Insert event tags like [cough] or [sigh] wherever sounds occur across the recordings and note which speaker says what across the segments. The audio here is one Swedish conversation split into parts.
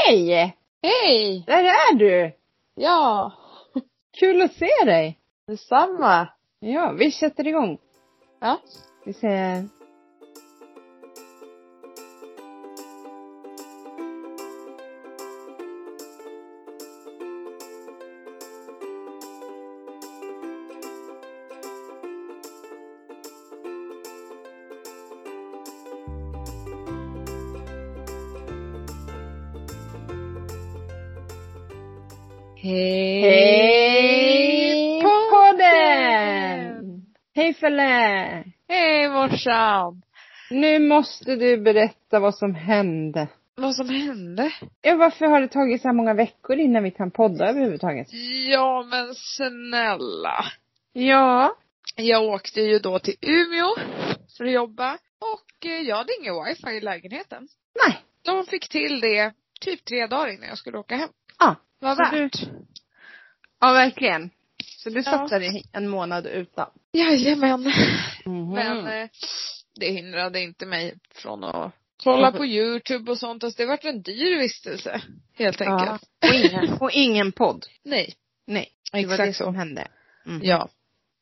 Speaker 1: Hej!
Speaker 2: Hej!
Speaker 1: Där är du!
Speaker 2: Ja,
Speaker 1: [laughs] Kul att se dig!
Speaker 2: detsamma.
Speaker 1: Ja, vi sätter igång.
Speaker 2: Ja.
Speaker 1: Vi säger...
Speaker 2: Hej!
Speaker 1: Hej podden!
Speaker 2: podden!
Speaker 1: Hej Felle!
Speaker 2: Hej morsan!
Speaker 1: Nu måste du berätta vad som hände.
Speaker 2: Vad som hände?
Speaker 1: Ja, varför har det tagit så här många veckor innan vi kan podda överhuvudtaget?
Speaker 2: Ja men snälla.
Speaker 1: Ja.
Speaker 2: Jag åkte ju då till Umeå för att jobba och eh, jag hade ingen wifi i lägenheten.
Speaker 1: Nej.
Speaker 2: De fick till det typ tre dagar innan jag skulle åka hem.
Speaker 1: Ja.
Speaker 2: Vad
Speaker 1: Så
Speaker 2: värt.
Speaker 1: Ja, verkligen. Så du
Speaker 2: Ja.
Speaker 1: satsade en månad utan.
Speaker 2: Jajamän.
Speaker 1: Mhm.
Speaker 2: Men eh, det hindrade inte mig från att kolla [laughs] på youtube och sånt. Alltså det vart en dyr vistelse helt enkelt.
Speaker 1: Ja. Och, ingen, och ingen podd.
Speaker 2: Nej.
Speaker 1: Nej, det
Speaker 2: Exakt
Speaker 1: var det
Speaker 2: så.
Speaker 1: som hände. Mm.
Speaker 2: Ja.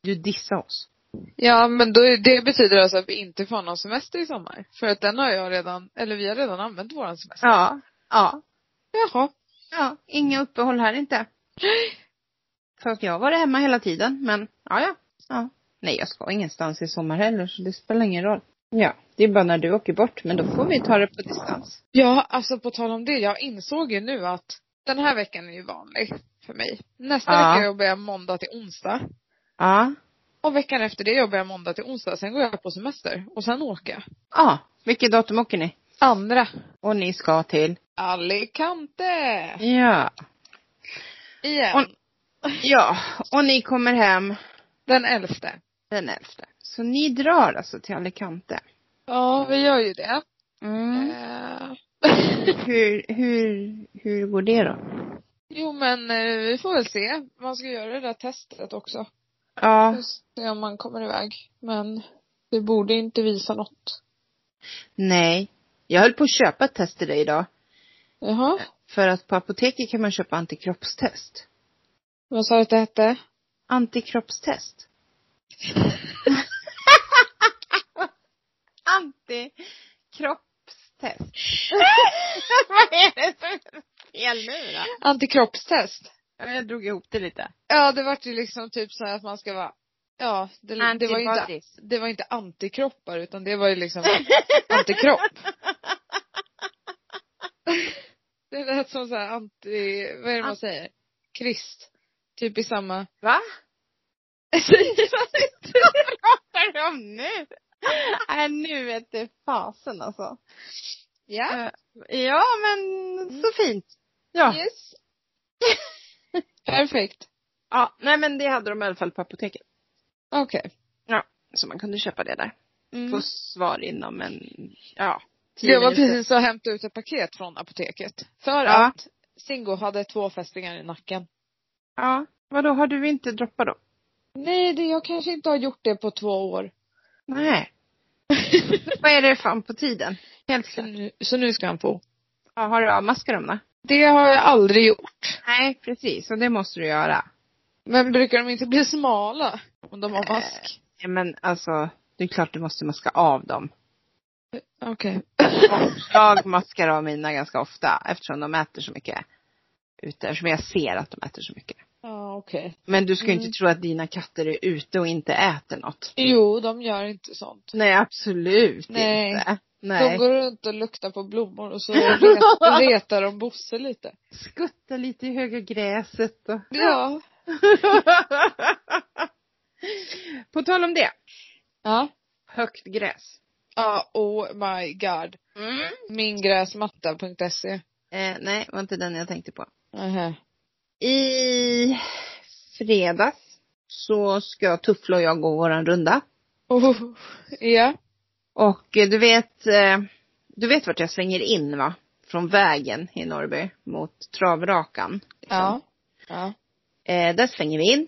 Speaker 1: Du dissade oss.
Speaker 2: Ja men då, är- det betyder alltså att vi inte får någon semester i sommar. För att den har jag redan, eller vi har redan använt våran semester.
Speaker 1: Ja. Ja.
Speaker 2: Jaha.
Speaker 1: Ja, inga uppehåll här inte. För att jag har varit hemma hela tiden, men ja, ja. ja. Nej, jag ska ingenstans i sommar heller, så det spelar ingen roll. Ja, det är bara när du åker bort, men då får vi ta det på distans.
Speaker 2: Ja alltså på tal om det, jag insåg ju nu att den här veckan är ju vanlig för mig. Nästa
Speaker 1: Ja.
Speaker 2: vecka jobbar jag måndag till onsdag.
Speaker 1: Ja.
Speaker 2: Och veckan efter det jobbar jag måndag till onsdag. Sen går jag på semester. Och sen åker jag.
Speaker 1: Ja. Vilket datum åker ni?
Speaker 2: Andra.
Speaker 1: Och ni ska till?
Speaker 2: Alicante!
Speaker 1: Ja.
Speaker 2: Igen.
Speaker 1: Och- Ja, och ni kommer hem
Speaker 2: Den elfte.
Speaker 1: den elfte. Så ni drar alltså till Alicante?
Speaker 2: Ja, vi gör ju det.
Speaker 1: Mm.
Speaker 2: Eh, [laughs]
Speaker 1: Hur, hur, hur går det då?
Speaker 2: jo men eh, vi får väl se. Man ska göra det där testet också.
Speaker 1: Ja.
Speaker 2: Får se om man kommer iväg. Men det borde inte visa något.
Speaker 1: Nej. Jag höll på att köpa ett test till dig idag.
Speaker 2: Jaha.
Speaker 1: För att på apoteket kan man köpa antikroppstest.
Speaker 2: Vad sa du att det hette?
Speaker 1: Antikroppstest. [laughs] Antikroppstest. [laughs] Vad är det som är fel nu då?
Speaker 2: Antikroppstest.
Speaker 1: Ja, Jag drog ihop det lite.
Speaker 2: Ja, det vart ju liksom typ så här att man ska vara Ja, det, det, var ju inte,
Speaker 1: Antibodies.
Speaker 2: det var inte antikroppar utan det var
Speaker 1: [laughs]
Speaker 2: ju liksom antikropp. Det lät som såhär anti, vad är det man
Speaker 1: Ant-
Speaker 2: säger? Krist. Typ
Speaker 1: [laughs]
Speaker 2: i samma.
Speaker 1: Va?
Speaker 2: Säger man inte?
Speaker 1: Vad är det om nu? Nej, nu vet du fasen alltså. Eh,
Speaker 2: Ja.
Speaker 1: Ja, men så fint. Äh? Ja.
Speaker 2: Yes. [laughs] Perfekt.
Speaker 1: Ja, nej men det hade de i alla fall på apoteket.
Speaker 2: Okej.
Speaker 1: Så man kunde köpa det där.
Speaker 2: Mm.
Speaker 1: Få svar inom en, ja, tio
Speaker 2: Jag var
Speaker 1: minuter.
Speaker 2: precis och hämtade ut ett paket från apoteket. För
Speaker 1: Ja.
Speaker 2: att Singo hade två fästingar i nacken.
Speaker 1: Ja. Vadå, har du inte droppat dem?
Speaker 2: Nej, det, jag kanske inte har gjort det på två år.
Speaker 1: Nej. Vad är det fan på tiden? Helt
Speaker 2: [laughs] Så
Speaker 1: klart.
Speaker 2: nu, så nu ska han få.
Speaker 1: Mm. Ja, har du avmaskat dem då?
Speaker 2: Det har jag aldrig gjort.
Speaker 1: Nej, precis. Och det måste du göra.
Speaker 2: Men brukar de inte bli smala? Om de har mask?
Speaker 1: Ja, men alltså, det är klart du måste maska av dem.
Speaker 2: Okej.
Speaker 1: Jag maskar av mina ganska ofta eftersom de äter så mycket ute. Eftersom jag ser att de äter så mycket.
Speaker 2: Ja, okej.
Speaker 1: Men du ska ju
Speaker 2: Mm.
Speaker 1: inte tro att dina katter är ute och inte äter något.
Speaker 2: Jo, de gör inte sånt.
Speaker 1: Nej, absolut
Speaker 2: Nej.
Speaker 1: inte.
Speaker 2: De
Speaker 1: Mm. Nej.
Speaker 2: går runt och luktar på blommor [laughs] och så re- retar de Bosse lite.
Speaker 1: Skutta lite i höga gräset och
Speaker 2: Ja.
Speaker 1: [laughs] På tal om det.
Speaker 2: Ja.
Speaker 1: Högt gräs.
Speaker 2: Ja, oh my god. Mingräsmatta.se.
Speaker 1: Eh, nej, var inte den jag tänkte på.
Speaker 2: Aha.
Speaker 1: I fredags så ska Tuffla och jag gå våran runda.
Speaker 2: Oh, ja.
Speaker 1: Och eh, du vet, eh, du vet vart jag svänger in va? Från vägen i Norrby mot liksom. travrakan.
Speaker 2: Ja. Ja.
Speaker 1: Eh, där svänger vi in.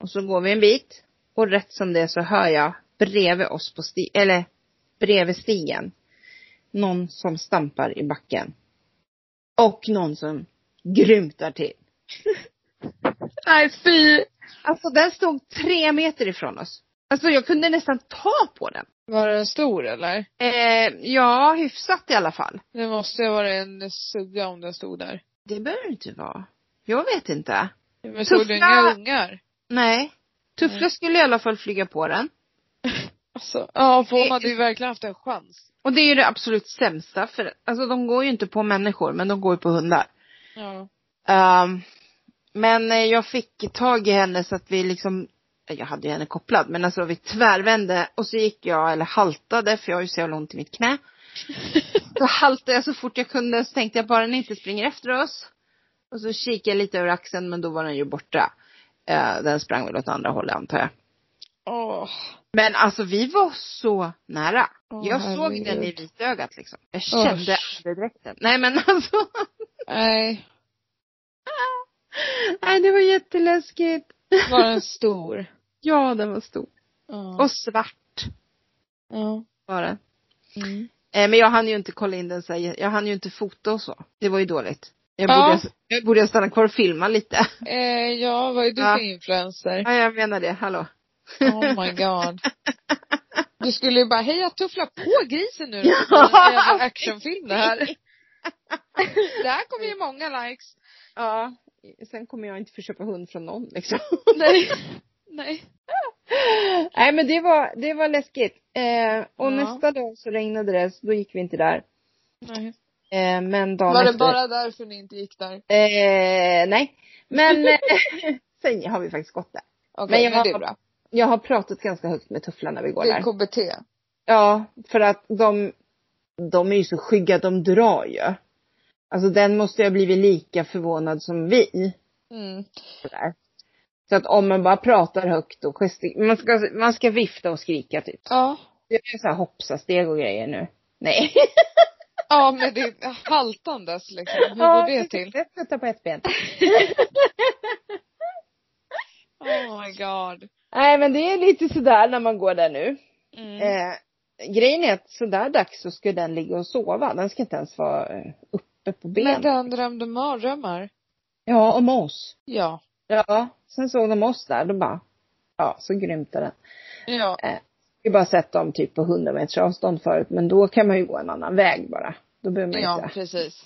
Speaker 1: Och så går vi en bit. Och rätt som det så hör jag bredvid oss på sti eller bredvid stigen. Någon som stampar i backen. Och någon som grymtar till.
Speaker 2: Nej fy!
Speaker 1: Alltså den stod tre meter ifrån oss. Alltså jag kunde nästan ta på den.
Speaker 2: Var den stor eller?
Speaker 1: Eh, ja, hyfsat i alla fall.
Speaker 2: Det måste ju vara en sugga om den stod där.
Speaker 1: Det behöver det inte vara. Jag vet inte.
Speaker 2: Men såg du
Speaker 1: Tuffla-
Speaker 2: inga ungar?
Speaker 1: Nej. Tuffla
Speaker 2: Nej.
Speaker 1: skulle i alla fall flyga på den.
Speaker 2: Alltså, ja för hon hade ju verkligen haft en chans.
Speaker 1: Och det är ju det absolut sämsta för, alltså de går ju inte på människor men de går ju på hundar.
Speaker 2: Ja.
Speaker 1: Ehm, men eh, jag fick tag i henne så att vi liksom, jag hade ju henne kopplad, men alltså vi tvärvände och så gick jag, eller haltade, för jag har ju så jävla ont i mitt knä. Så haltade jag så fort jag kunde, så tänkte jag bara den inte springer efter oss. Och så kikade jag lite över axeln, men då var den ju borta. Eh, den sprang väl åt andra hållet antar jag.
Speaker 2: Åh.
Speaker 1: Men alltså vi var så nära.
Speaker 2: Åh,
Speaker 1: jag såg
Speaker 2: herregud.
Speaker 1: den i vitögat liksom. Jag kände
Speaker 2: Usch.
Speaker 1: andedräkten. Nej men [laughs] alltså.
Speaker 2: Nej.
Speaker 1: Nej det var jätteläskigt.
Speaker 2: Var den stor?
Speaker 1: Ja den var stor.
Speaker 2: [laughs] Ja.
Speaker 1: Och svart
Speaker 2: ja.
Speaker 1: var den.
Speaker 2: Mm.
Speaker 1: Eh, men jag hann ju inte kolla in den så här, jag hann ju inte fota och så. Det var ju dåligt. Jag
Speaker 2: Ja.
Speaker 1: borde, jag borde stanna kvar och filma lite. [laughs]
Speaker 2: Eh, ja, vad är du
Speaker 1: Ja.
Speaker 2: för influencer?
Speaker 1: Ja jag menar det, hallå.
Speaker 2: Oh my god. Du skulle ju bara, hej jag tufflar på grisen nu.
Speaker 1: Ja.
Speaker 2: Det är en jävla actionfilm det [laughs] här. Det här kommer ju många likes.
Speaker 1: Ja. Sen kommer jag inte få köpa hund från någon [laughs] liksom.
Speaker 2: Nej. Nej.
Speaker 1: Nej men det var, det var läskigt. Eh, och
Speaker 2: Ja.
Speaker 1: nästa dag så regnade det, så då gick vi inte där.
Speaker 2: Nej.
Speaker 1: Eh, men dagen
Speaker 2: Var det
Speaker 1: efter,
Speaker 2: bara därför ni inte gick där?
Speaker 1: Eh, nej. Men eh, sen har vi faktiskt gått där.
Speaker 2: Okej,
Speaker 1: Men jag
Speaker 2: men det är
Speaker 1: har-
Speaker 2: bra.
Speaker 1: Jag har pratat ganska högt med Tufflan när vi går
Speaker 2: Det
Speaker 1: där.
Speaker 2: är KBT.
Speaker 1: Ja, för att de, de är ju så skygga, de drar ju. Alltså den måste ju ha blivit lika förvånad som vi.
Speaker 2: Mm.
Speaker 1: Sådär. Så att om man bara pratar högt och gestik, man ska, man ska vifta och skrika typ.
Speaker 2: Ja.
Speaker 1: Det är så här hoppsasteg och grejer nu. Nej.
Speaker 2: Ja, men det är haltandes liksom. Hur går det till?
Speaker 1: Jag ska ta på ett ben.
Speaker 2: Oh my god.
Speaker 1: Nej men det är lite sådär när man går där nu.
Speaker 2: Mm.
Speaker 1: Eh, grejen är att sådär dags så ska den ligga och sova. Den ska inte ens vara eh, uppe på
Speaker 2: Men
Speaker 1: benen.
Speaker 2: den drömde mardrömmar.
Speaker 1: Ja, om oss.
Speaker 2: Ja.
Speaker 1: Ja, sen såg de oss där, då bara, ja, så grymtade den.
Speaker 2: Ja.
Speaker 1: Vi har bara sett dem typ på 100 meters avstånd förut, men då kan man ju gå en annan väg bara. Då behöver man
Speaker 2: Ja,
Speaker 1: inte.
Speaker 2: [laughs] precis.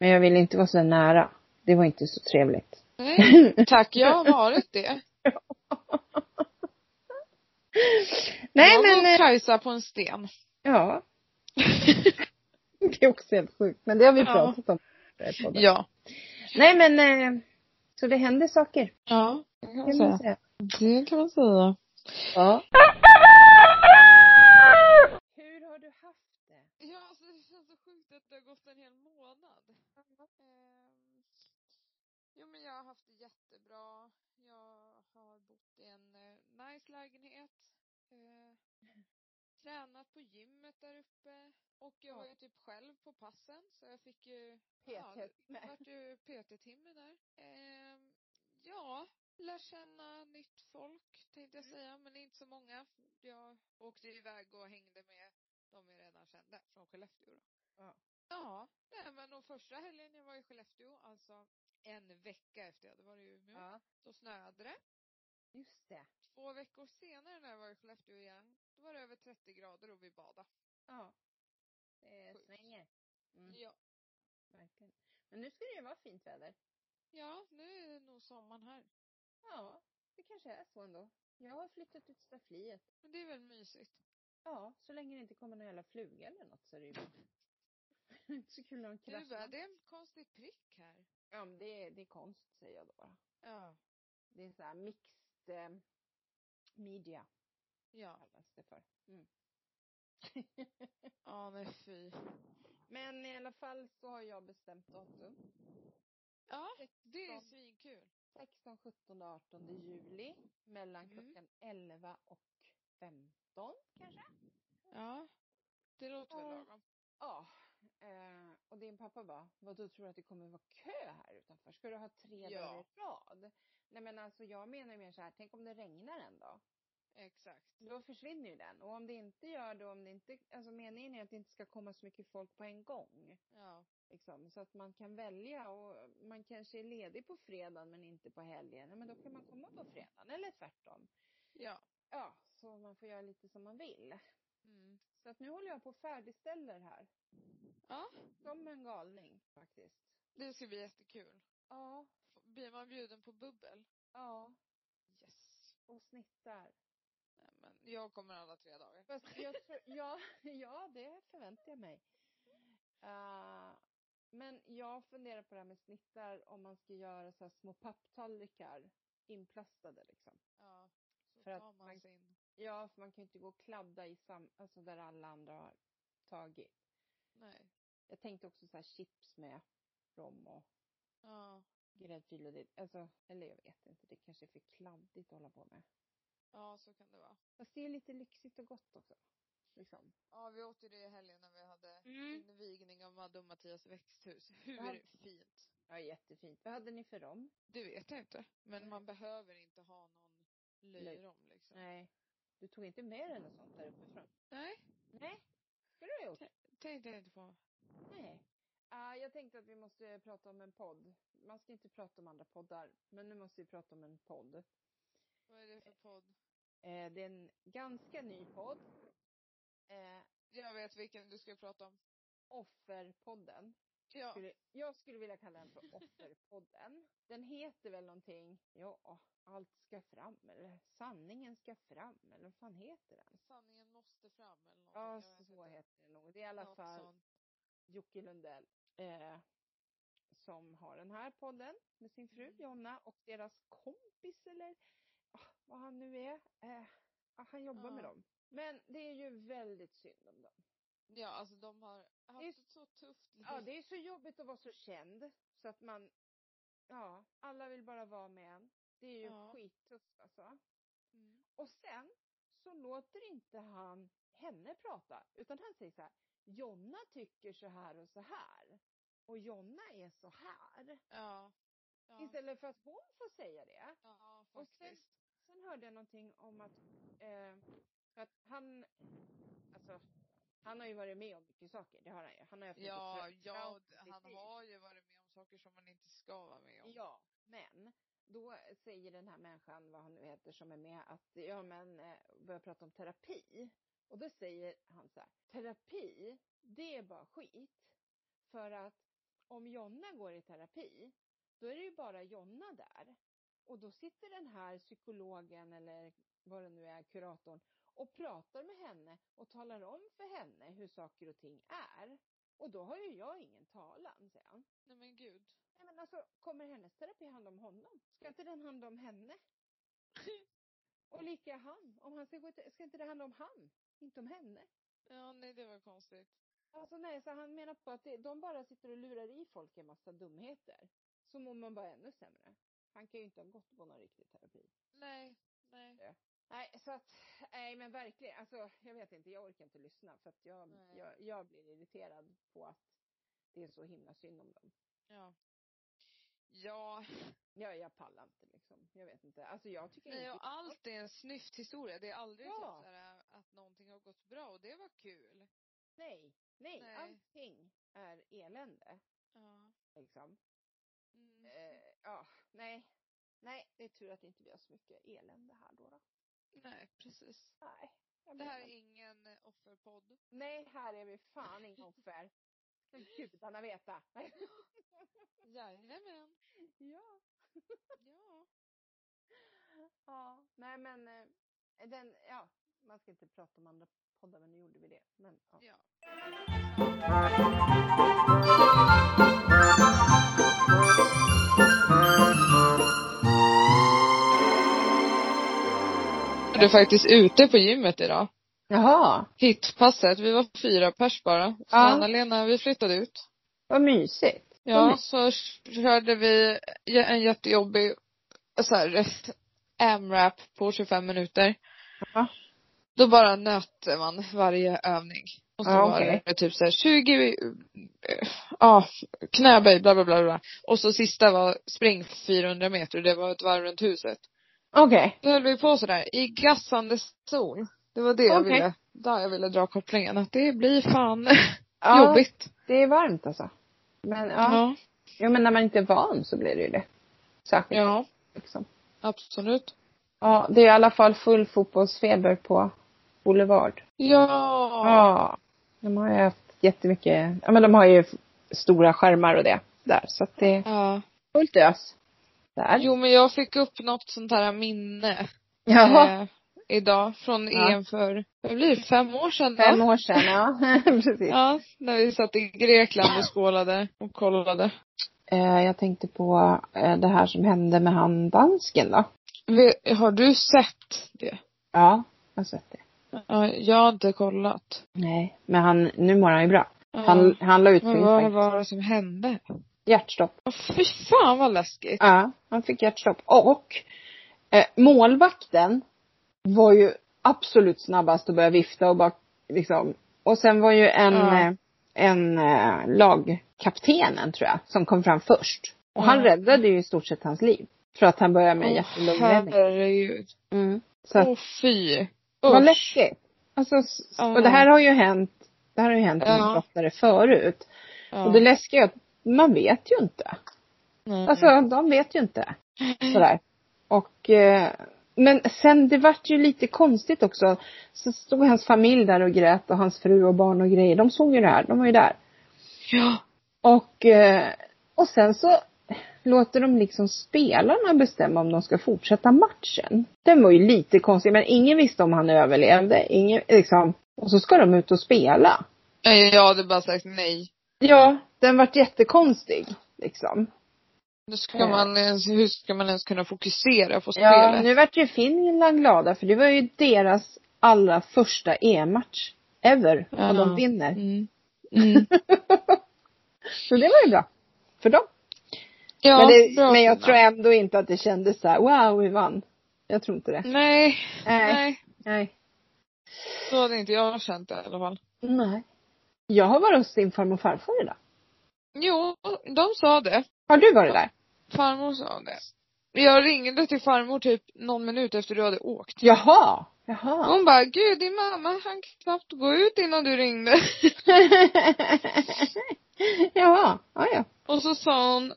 Speaker 1: Men jag vill inte vara så nära. Det var inte så trevligt. [laughs]
Speaker 2: Nej, tack. Jag har varit det.
Speaker 1: Nej
Speaker 2: jag
Speaker 1: men,
Speaker 2: var
Speaker 1: eh,
Speaker 2: Kajsa på en sten.
Speaker 1: ja. [laughs] Det är också helt sjukt, men det har vi
Speaker 2: Ja.
Speaker 1: pratat om. i den här podden.
Speaker 2: ja.
Speaker 1: Nej men, eh, så det händer saker.
Speaker 2: Ja. Det kan man
Speaker 1: Kan man
Speaker 2: säga.
Speaker 1: säga.
Speaker 2: Det kan man säga.
Speaker 1: Ja. Hur har du haft det?
Speaker 2: Ja, alltså det känns så sjukt att det har gått en hel månad. Ehm, jo men jag har haft det jättebra. Jag har bott i en eh, nice lägenhet. Eh, tränat på gymmet där uppe. Och jag var ju typ själv på passen så jag fick ju Ja, det- det
Speaker 1: Mm.
Speaker 2: vart ju PT-timme där. Ehm, ja, lär känna nytt folk tänkte jag säga, men det är inte så många. Jag åkte ju iväg och hängde med de jag redan kände från Skellefteå då.
Speaker 1: Ja.
Speaker 2: Ja, nej men och första helgen jag var i Skellefteå, alltså en vecka efter jag hade varit i Umeå,
Speaker 1: Ja,
Speaker 2: då snöade det.
Speaker 1: just det.
Speaker 2: Två veckor senare när jag var i Skellefteå igen, då var det över 30 grader och vi badade.
Speaker 1: Ja. Det svänger. Mm.
Speaker 2: Ja,
Speaker 1: Verkligen. Men nu ska det ju vara fint väder.
Speaker 2: ja, nu är det nog sommaren här.
Speaker 1: Ja, det kanske är så ändå. Jag har flyttat ut staffliet.
Speaker 2: Men det är väl mysigt.
Speaker 1: Ja, så länge det inte kommer någon jävla fluga eller något så är det ju bra. [laughs] Det är inte så kul när de
Speaker 2: Du bara,
Speaker 1: kraschar.
Speaker 2: det är en konstig prick här.
Speaker 1: Ja, men det är, det är konst säger jag då bara.
Speaker 2: Ja.
Speaker 1: Det är så här mixed eh, media
Speaker 2: Ja.
Speaker 1: kallas det för. Mm.
Speaker 2: Ja, men fy.
Speaker 1: Men i alla fall så har jag bestämt datum.
Speaker 2: Ja, det är svinkul.
Speaker 1: 16, 17, 18 juli. Mellan
Speaker 2: Mm.
Speaker 1: klockan 11 och 15 kanske.
Speaker 2: Mm. Ja. Det låter väl
Speaker 1: Ja.
Speaker 2: lagom.
Speaker 1: Ja. Eh, och din pappa bara, vad du tror att det kommer vara kö här utanför? Ska du ha tre
Speaker 2: Ja.
Speaker 1: dagar i rad? Nej men alltså jag menar ju mer så här, tänk om det regnar en dag?
Speaker 2: Exakt.
Speaker 1: Då försvinner ju den. Och om det inte gör det, om det inte, alltså meningen är att det inte ska komma så mycket folk på en gång.
Speaker 2: Ja.
Speaker 1: Liksom, så att man kan välja och man kanske är ledig på fredagen men inte på helgen. Ja, men då kan man komma på fredagen eller tvärtom.
Speaker 2: Ja.
Speaker 1: Ja, så man får göra lite som man vill.
Speaker 2: Mm.
Speaker 1: Så att nu håller jag på och färdigställer här.
Speaker 2: Ja,
Speaker 1: Som en galning faktiskt.
Speaker 2: det ska bli jättekul.
Speaker 1: Ja,
Speaker 2: F- Blir man bjuden på bubbel?
Speaker 1: ja.
Speaker 2: Yes.
Speaker 1: Och snittar.
Speaker 2: Nej, men jag kommer alla tre dagar.
Speaker 1: Fast jag tror, ja, [laughs] ja, det förväntar jag mig. Eh, men jag funderar på det här med snittar, om man ska göra så här små papptallrikar inplastade liksom.
Speaker 2: Ja. Så
Speaker 1: För att
Speaker 2: tar man
Speaker 1: man-
Speaker 2: sin.
Speaker 1: Ja, för man kan ju inte gå och kladda i sam, alltså där alla andra har tagit.
Speaker 2: Nej.
Speaker 1: Jag tänkte också så här chips med rom och
Speaker 2: Ja.
Speaker 1: gräddfil och det, alltså, eller jag vet inte, det kanske är för kladdigt att hålla på med.
Speaker 2: Ja, så kan det vara.
Speaker 1: Fast det är lite lyxigt och gott också. Liksom.
Speaker 2: Ja, vi åt ju det i helgen när vi hade
Speaker 1: Mm.
Speaker 2: invigning av Madde och Mattias växthus. Hur
Speaker 1: Ja.
Speaker 2: fint?
Speaker 1: Ja, jättefint. Vad hade ni för rom?
Speaker 2: Det vet jag inte. Men man behöver inte ha någon löjrom liksom. Nej.
Speaker 1: Nej. Du tog inte med dig något sånt där uppifrån?
Speaker 2: Nej,
Speaker 1: Nej. Skulle du ha gjort?
Speaker 2: tänkte jag inte på.
Speaker 1: Nej. Ah, jag tänkte att vi måste prata om en podd. Man ska inte prata om andra poddar, men nu måste vi prata om en podd. Eh,
Speaker 2: Vad är det för podd?
Speaker 1: det är en ganska ny podd. Eh,
Speaker 2: Jag vet vilken du ska prata om.
Speaker 1: Offerpodden.
Speaker 2: Ja.
Speaker 1: Skulle, jag skulle vilja kalla den för Offerpodden. Den heter väl någonting, ja, Allt ska fram eller Sanningen ska fram eller vad fan heter den?
Speaker 2: Sanningen måste fram eller någonting.
Speaker 1: Ja,
Speaker 2: jag vet
Speaker 1: så
Speaker 2: inte.
Speaker 1: heter den nog. Det är i alla
Speaker 2: Något
Speaker 1: fall
Speaker 2: sånt.
Speaker 1: Jocke Lundell eh, som har den här podden med sin fru
Speaker 2: Mm.
Speaker 1: Jonna och deras kompis eller ah, vad han nu är. Eh, ah, han jobbar
Speaker 2: Ja.
Speaker 1: med dem. Men det är ju väldigt synd om dem.
Speaker 2: Ja, alltså de har haft ett så tufft liv.
Speaker 1: Ja, det är så jobbigt att vara så känd så att man, ja, alla vill bara vara med en. Det är ju
Speaker 2: Ja.
Speaker 1: skittufft alltså.
Speaker 2: Mm.
Speaker 1: Och sen så låter inte han henne prata utan han säger så här, Jonna tycker så här och så här. Och Jonna är så här.
Speaker 2: Ja. Ja.
Speaker 1: Istället för att hon får säga det.
Speaker 2: Ja,
Speaker 1: Och
Speaker 2: faktiskt.
Speaker 1: Sen hörde jag någonting om att, eh, för att han, alltså, han har ju varit med om mycket saker, det har han ju. Han har ju haft mycket
Speaker 2: Ja,
Speaker 1: tra-
Speaker 2: ja, och d-
Speaker 1: trauma i sitt
Speaker 2: han
Speaker 1: liv.
Speaker 2: har ju varit med om saker som man inte ska vara med om.
Speaker 1: Ja, men då säger den här människan, vad han nu heter, som är med att, ja men, eh, börjar prata om terapi. Och då säger han så här, terapi, det är bara skit. För att om Jonna går i terapi, då är det ju bara Jonna där. Och då sitter den här psykologen eller vad det nu är, kuratorn, och pratar med henne och talar om för henne hur saker och ting är. Och då har ju jag ingen talan, säger han.
Speaker 2: Nej men gud.
Speaker 1: Nej men alltså, kommer hennes terapi handla om honom? Ska inte den handla om henne? Och lika han. Om han ska gå till, ska inte det handla om han? Inte om henne?
Speaker 2: Ja, nej det var konstigt.
Speaker 1: Alltså nej, så han menar på att det, de bara sitter och lurar i folk en massa dumheter. Så mår man bara ännu sämre. Han kan ju inte ha gått på någon riktig terapi.
Speaker 2: Nej, nej.
Speaker 1: Nej, så att, nej men verkligen, alltså jag vet inte, jag orkar inte lyssna för att jag,
Speaker 2: Nej.
Speaker 1: jag, jag blir irriterad på att det är så himla synd om dem.
Speaker 2: Ja. Ja,
Speaker 1: Ja, jag pallar inte liksom. Jag vet inte. Alltså jag tycker
Speaker 2: nej,
Speaker 1: inte-
Speaker 2: och allt är en snyfthistoria. Det är aldrig
Speaker 1: Ja.
Speaker 2: typ så här, att någonting har gått bra och det var kul.
Speaker 1: Nej, nej,
Speaker 2: Nej.
Speaker 1: allting är elände.
Speaker 2: Ja.
Speaker 1: Liksom.
Speaker 2: Mm.
Speaker 1: Eh, ja, nej. Nej, det är tur att inte vi har så mycket elände här då. då.
Speaker 2: Nej, precis.
Speaker 1: Nej. jag
Speaker 2: Det här
Speaker 1: menar-
Speaker 2: är ingen eh, offerpodd.
Speaker 1: Nej, här är vi fan inga [laughs] offer. Ska gudarna veta. [laughs]
Speaker 2: Jajamän.
Speaker 1: ja.
Speaker 2: Ja.
Speaker 1: Ja, nej men eh, den, ja, man ska inte prata om andra poddar men nu gjorde vi det. Men ja.
Speaker 2: Ja. Jag är faktiskt ute på gymmet idag.
Speaker 1: Jaha,
Speaker 2: Hittpasset, vi var fyra pers bara. Så
Speaker 1: Ja.
Speaker 2: Anna-Lena, vi flyttade ut.
Speaker 1: vad mysigt.
Speaker 2: Ja,
Speaker 1: Mm.
Speaker 2: så körde vi en jättejobbig så här, AMRAP på 25 minuter.
Speaker 1: Ja.
Speaker 2: Då bara nötte man varje övning. Och så
Speaker 1: Ja,
Speaker 2: var
Speaker 1: okej.
Speaker 2: det typ så här 20, eh, ja, knäböj, bla bla bla bla. Och så sista var spring 400 meter och det var ett varv runt huset.
Speaker 1: Okej.
Speaker 2: Då höll vi på sådär, i gassande sol. Det var det jag
Speaker 1: Okej.
Speaker 2: ville, där jag ville dra kopplingen. Att det blir fan
Speaker 1: Ja,
Speaker 2: [laughs] jobbigt.
Speaker 1: det är varmt alltså. Men ja.
Speaker 2: Ja.
Speaker 1: Jo men när man inte är van så blir det ju det. Särskilt
Speaker 2: Ja,
Speaker 1: liksom.
Speaker 2: absolut.
Speaker 1: Ja, det är i alla fall full fotbollsfeber på Boulevard.
Speaker 2: Ja.
Speaker 1: Ja. De har ju haft jättemycket, ja men de har ju f- stora skärmar och det där. Så att det är
Speaker 2: ja.
Speaker 1: fullt ös. Där. [laughs]
Speaker 2: Jo men jag fick upp något sånt här minne.
Speaker 1: Jaha.
Speaker 2: Eh, idag från
Speaker 1: Ja.
Speaker 2: EM för, vad blir det, fem år sedan va?
Speaker 1: Fem år sedan, ja. [laughs] Precis.
Speaker 2: Ja, när vi satt i Grekland och skålade och kollade.
Speaker 1: Eh, jag tänkte på eh, det här som hände med han dansken då.
Speaker 2: Vi- Har du sett det?
Speaker 1: Ja. Jag har sett det.
Speaker 2: Ja, jag har inte kollat.
Speaker 1: Nej. Men han, nu mår han ju bra.
Speaker 2: Ja.
Speaker 1: Han, han la ut på
Speaker 2: Men vad
Speaker 1: Instagram.
Speaker 2: var det som hände?
Speaker 1: Hjärtstopp.
Speaker 2: Åh, fy fan vad läskigt.
Speaker 1: Ja, han fick hjärtstopp. Och eh, målvakten var ju absolut snabbast att börja vifta och bara liksom. Och sen var ju en,
Speaker 2: Ja.
Speaker 1: eh, en eh, lagkaptenen tror jag, som kom fram först. Och han
Speaker 2: Ja.
Speaker 1: räddade ju i stort sett hans liv. För att han började med
Speaker 2: Åh,
Speaker 1: hjärtlungräddning.
Speaker 2: herregud.
Speaker 1: Mm. Så att,
Speaker 2: Åh fy.
Speaker 1: vad
Speaker 2: Usch.
Speaker 1: läskigt. Alltså, s-
Speaker 2: Ja.
Speaker 1: och det här har ju hänt, det här har ju hänt
Speaker 2: Ja.
Speaker 1: mycket oftare förut.
Speaker 2: Ja.
Speaker 1: Och det läskiga är att man vet ju inte.
Speaker 2: Nej.
Speaker 1: Alltså de vet ju inte. Sådär. Och, eh, men sen det vart ju lite konstigt också. Så stod hans familj där och grät och hans fru och barn och grejer. De såg ju det här. De var ju där.
Speaker 2: Ja.
Speaker 1: Och, eh, och sen så låter de liksom spelarna bestämma om de ska fortsätta matchen. Den var ju lite konstig. Men ingen visste om han överlevde. Ingen, liksom. Och så ska de ut och spela.
Speaker 2: Nej, Jag hade bara sagt nej.
Speaker 1: Ja, den vart jättekonstig. Liksom.
Speaker 2: Nu ska
Speaker 1: Ja.
Speaker 2: man ens, hur ska man ens kunna fokusera på spelet?
Speaker 1: Ja, nu vart ju Finland glada för det var ju deras allra första EM-match ever.
Speaker 2: Ja.
Speaker 1: Och de vinner.
Speaker 2: Mm.
Speaker 1: [laughs]
Speaker 2: Mm.
Speaker 1: Så det var ju bra. För dem.
Speaker 2: Ja,
Speaker 1: men, det,
Speaker 2: bra
Speaker 1: men jag
Speaker 2: Sanna.
Speaker 1: tror ändå inte att det kändes så här, wow vi vann. Jag tror inte det.
Speaker 2: Nej,
Speaker 1: Nej.
Speaker 2: nej.
Speaker 1: Nej.
Speaker 2: Så hade inte jag känt det i alla fall.
Speaker 1: Nej. Jag har varit hos din farmor och farfar idag.
Speaker 2: Jo, de sa det.
Speaker 1: Har du varit där?
Speaker 2: Farmor sa det. Jag ringde till farmor typ någon minut efter du hade åkt.
Speaker 1: Jaha. Jaha.
Speaker 2: Hon bara, gud din mamma hann knappt gå ut innan du ringde. [laughs]
Speaker 1: [laughs] Jaha. Ja, ja.
Speaker 2: Och så sa hon,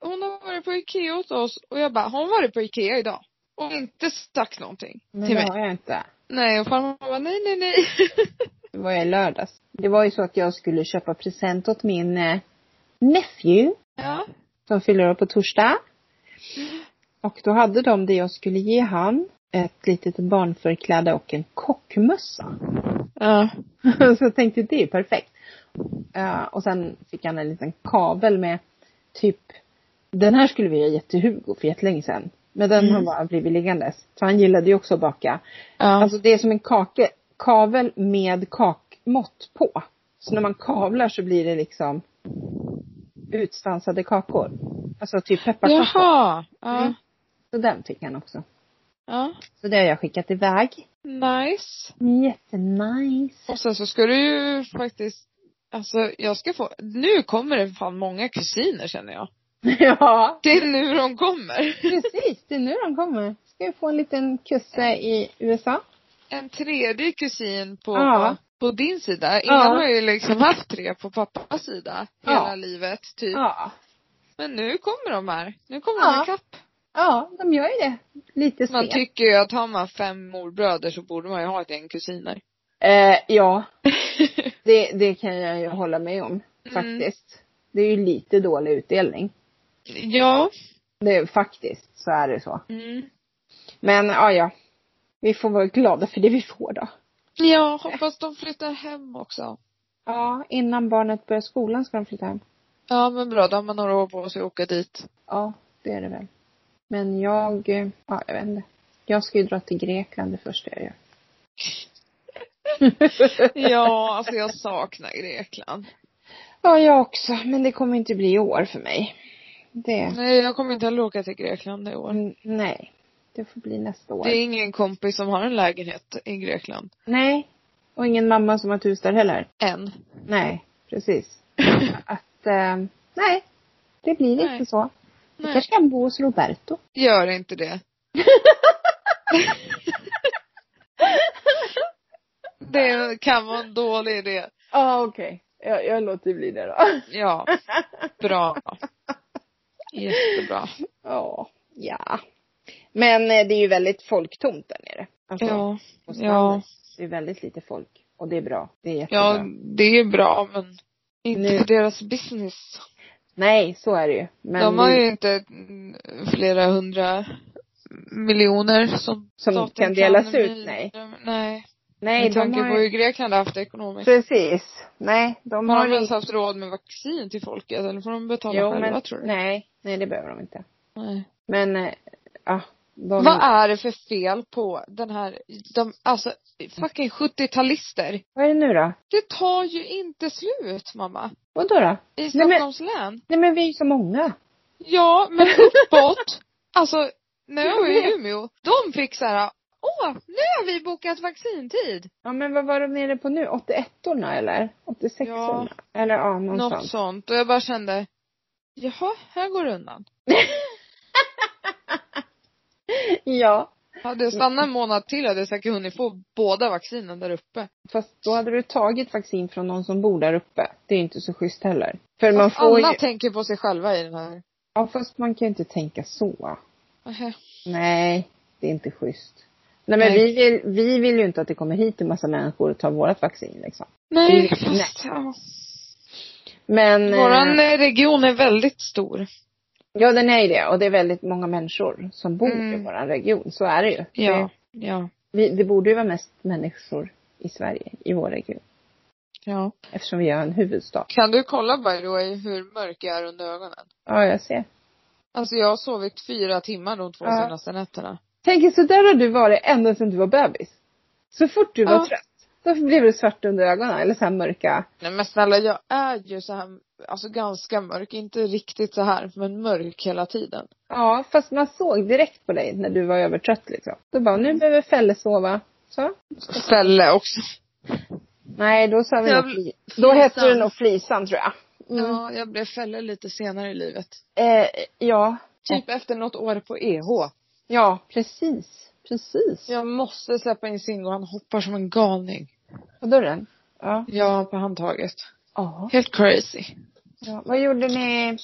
Speaker 2: hon har varit på Ikea åt oss. Och jag bara, har hon varit på Ikea idag? Och inte sagt någonting
Speaker 1: Men
Speaker 2: till
Speaker 1: det
Speaker 2: mig.
Speaker 1: har jag inte.
Speaker 2: Nej, och farmor bara, nej, nej, nej. [laughs]
Speaker 1: Det var i lördags. Det var ju så att jag skulle köpa present åt min eh, nephew.
Speaker 2: Ja.
Speaker 1: som fyller år på torsdag. Och då hade de det jag skulle ge han. Ett litet barnförkläde och en kockmössa.
Speaker 2: Ja.
Speaker 1: [laughs] Så jag tänkte det är perfekt. Eh, och sen fick han en liten kabel med typ den här skulle vi ha gett till Hugo för jättelänge sedan. Men den har
Speaker 2: Mm.
Speaker 1: bara blivit liggandes. Så han gillade ju också att baka.
Speaker 2: Ja.
Speaker 1: Alltså det är som en kake, kavel med kakmått på. Så när man kavlar så blir det liksom utstansade kakor. Alltså typ pepparkakor.
Speaker 2: Jaha. Ja.
Speaker 1: Mm. Så den fick han också.
Speaker 2: Ja.
Speaker 1: Så det har jag skickat iväg.
Speaker 2: Nice.
Speaker 1: Jättenice.
Speaker 2: Och sen så ska du ju faktiskt, alltså jag ska få, nu kommer det fan många kusiner känner jag.
Speaker 1: [laughs] Ja,
Speaker 2: Det är nu de kommer.
Speaker 1: precis. Det är nu de kommer. Ska ju få en liten kusse i USA.
Speaker 2: En tredje kusin på,
Speaker 1: Ja.
Speaker 2: på din sida. Innan
Speaker 1: Ja.
Speaker 2: har jag ju liksom haft tre på pappas sida hela
Speaker 1: Ja.
Speaker 2: livet typ.
Speaker 1: Ja.
Speaker 2: Men nu kommer de här. Nu kommer
Speaker 1: Ja.
Speaker 2: de ikapp.
Speaker 1: Ja, de gör ju det. Lite
Speaker 2: Man
Speaker 1: sent.
Speaker 2: tycker ju att har man fem morbröder så borde man ju ha ett
Speaker 1: [laughs]
Speaker 2: gäng kusiner.
Speaker 1: Eh, ja. Det, det kan jag ju hålla med om faktiskt. Det är ju lite dålig utdelning.
Speaker 2: Ja.
Speaker 1: Det är faktiskt så är det så.
Speaker 2: Mm.
Speaker 1: Men ja, ja. Vi får vara glada för det vi får då.
Speaker 2: Ja, hoppas de flyttar hem också.
Speaker 1: Ja, innan barnet börjar skolan ska de flytta hem.
Speaker 2: Ja men bra, då har man några år på sig att åka dit.
Speaker 1: Ja, det är det väl. Men jag, eh, ja jag vet inte. Jag ska ju dra till Grekland det första jag [laughs] gör.
Speaker 2: Ja, alltså jag saknar Grekland.
Speaker 1: Ja, jag också. Men det kommer inte bli i år för mig. Det,
Speaker 2: Nej, jag kommer inte heller åka till Grekland i år.
Speaker 1: mm, nej. Det får bli nästa år.
Speaker 2: Det är ingen kompis som har en lägenhet i Grekland.
Speaker 1: Nej. Och ingen mamma som har ett hus där heller.
Speaker 2: Än.
Speaker 1: Nej,
Speaker 2: [laughs]
Speaker 1: precis. Att, eh, nej. Det blir
Speaker 2: Nej.
Speaker 1: inte så. Vi
Speaker 2: Nej, [laughs]
Speaker 1: kanske kan bo hos Roberto.
Speaker 2: gör inte det. Det kan vara en dålig idé.
Speaker 1: Ja, okej. Jag, jag låter bli det då. [laughs]
Speaker 2: Ja. Bra. Jättebra.
Speaker 1: Ja. Ja. Men eh, det är ju väldigt folktomt där nere. Alltså, på stranden.
Speaker 2: ja.
Speaker 1: Det är väldigt lite folk. Och det är bra. Det är jättebra.
Speaker 2: Ja, det är bra men
Speaker 1: Nu-
Speaker 2: inte för deras business.
Speaker 1: Nej, så är det ju. Men
Speaker 2: De har
Speaker 1: vi-
Speaker 2: ju inte mm, flera hundra miljoner som
Speaker 1: Som
Speaker 2: staten
Speaker 1: kan delas
Speaker 2: men-
Speaker 1: ut, nej.
Speaker 2: Nej.
Speaker 1: nej,
Speaker 2: Med
Speaker 1: de
Speaker 2: tanke
Speaker 1: har
Speaker 2: på
Speaker 1: ju...
Speaker 2: hur Grekland har haft det ekonomiskt.
Speaker 1: Precis. Nej, de
Speaker 2: Har
Speaker 1: har
Speaker 2: de ens haft råd med vaccin till folket eller får de betala
Speaker 1: Jo,
Speaker 2: själva
Speaker 1: men
Speaker 2: tror du?
Speaker 1: nej, nej det behöver de inte.
Speaker 2: Nej.
Speaker 1: Men, eh, ah, de...
Speaker 2: Vad är det för fel på den här, de, alltså fucking 70-talister.
Speaker 1: Vad är det nu då?
Speaker 2: Det tar ju inte slut mamma.
Speaker 1: Vadå då?
Speaker 2: I
Speaker 1: men-
Speaker 2: Stockholms län.
Speaker 1: Nej men vi är ju så många.
Speaker 2: Ja, men uppåt. alltså, när jag var i Umeå, de fick så här, åh, nu har vi bokat vaccintid.
Speaker 1: Ja men vad var de nere på nu? 81orna eller? 86orna?
Speaker 2: Ja.
Speaker 1: Eller ja,
Speaker 2: Något
Speaker 1: någonstans.
Speaker 2: sånt. Och jag bara kände, jaha, här går det undan.
Speaker 1: [laughs] Ja.
Speaker 2: Hade jag stannat en månad till hade jag säkert hunnit få båda vaccinen där uppe.
Speaker 1: Fast då hade du tagit vaccin från någon som bor där uppe. Det är ju inte så schysst heller. För man
Speaker 2: Fast
Speaker 1: får
Speaker 2: alla
Speaker 1: ju...
Speaker 2: tänker på sig själva i den här.
Speaker 1: Ja fast man kan ju inte tänka så.
Speaker 2: Nähä.
Speaker 1: Nej, det är inte schysst. Nej men
Speaker 2: Nej.
Speaker 1: Vi, vill, vi vill ju inte att det kommer hit en massa människor och tar vårat vaccin liksom.
Speaker 2: Nej,
Speaker 1: Mm,
Speaker 2: fast ja.
Speaker 1: Men... eh,
Speaker 2: Våran eh, region är väldigt stor.
Speaker 1: Ja den är ju det och det är väldigt många människor som bor i
Speaker 2: Mm.
Speaker 1: vår region. Så är det ju.
Speaker 2: Ja,
Speaker 1: Det,
Speaker 2: ja,
Speaker 1: vi, det borde ju vara mest människor i Sverige, i vår region.
Speaker 2: ja.
Speaker 1: Eftersom vi har en huvudstad.
Speaker 2: Kan du kolla by the way hur mörk jag är under ögonen?
Speaker 1: Ja, jag ser.
Speaker 2: Alltså jag har sovit fyra timmar de två
Speaker 1: Ja.
Speaker 2: senaste nätterna.
Speaker 1: Tänk så där har du varit ända sedan du var bebis. Så fort du var
Speaker 2: Ja.
Speaker 1: trött, då blev du svart under ögonen eller så här mörka.
Speaker 2: Nej men snälla jag är ju så här, alltså ganska mörk, inte riktigt så här men mörk hela tiden.
Speaker 1: Ja, fast man såg direkt på dig när du var övertrött liksom. Då bara, nu behöver Felle sova. Så.
Speaker 2: Fälle också.
Speaker 1: Nej, då sa vi
Speaker 2: Jag
Speaker 1: nog
Speaker 2: bl-
Speaker 1: fli- Då hette du
Speaker 2: Flisan.
Speaker 1: nog Flisan tror jag. Mm.
Speaker 2: Ja, jag blev fälle lite senare i livet.
Speaker 1: Eh, ja.
Speaker 2: Typ efter något år på EH.
Speaker 1: Ja, precis. Precis.
Speaker 2: Jag måste släppa in Singo, han hoppar som en galning.
Speaker 1: På dörren? Ja.
Speaker 2: Ja, på handtaget.
Speaker 1: Ja.
Speaker 2: Helt crazy.
Speaker 1: ja. Vad gjorde ni?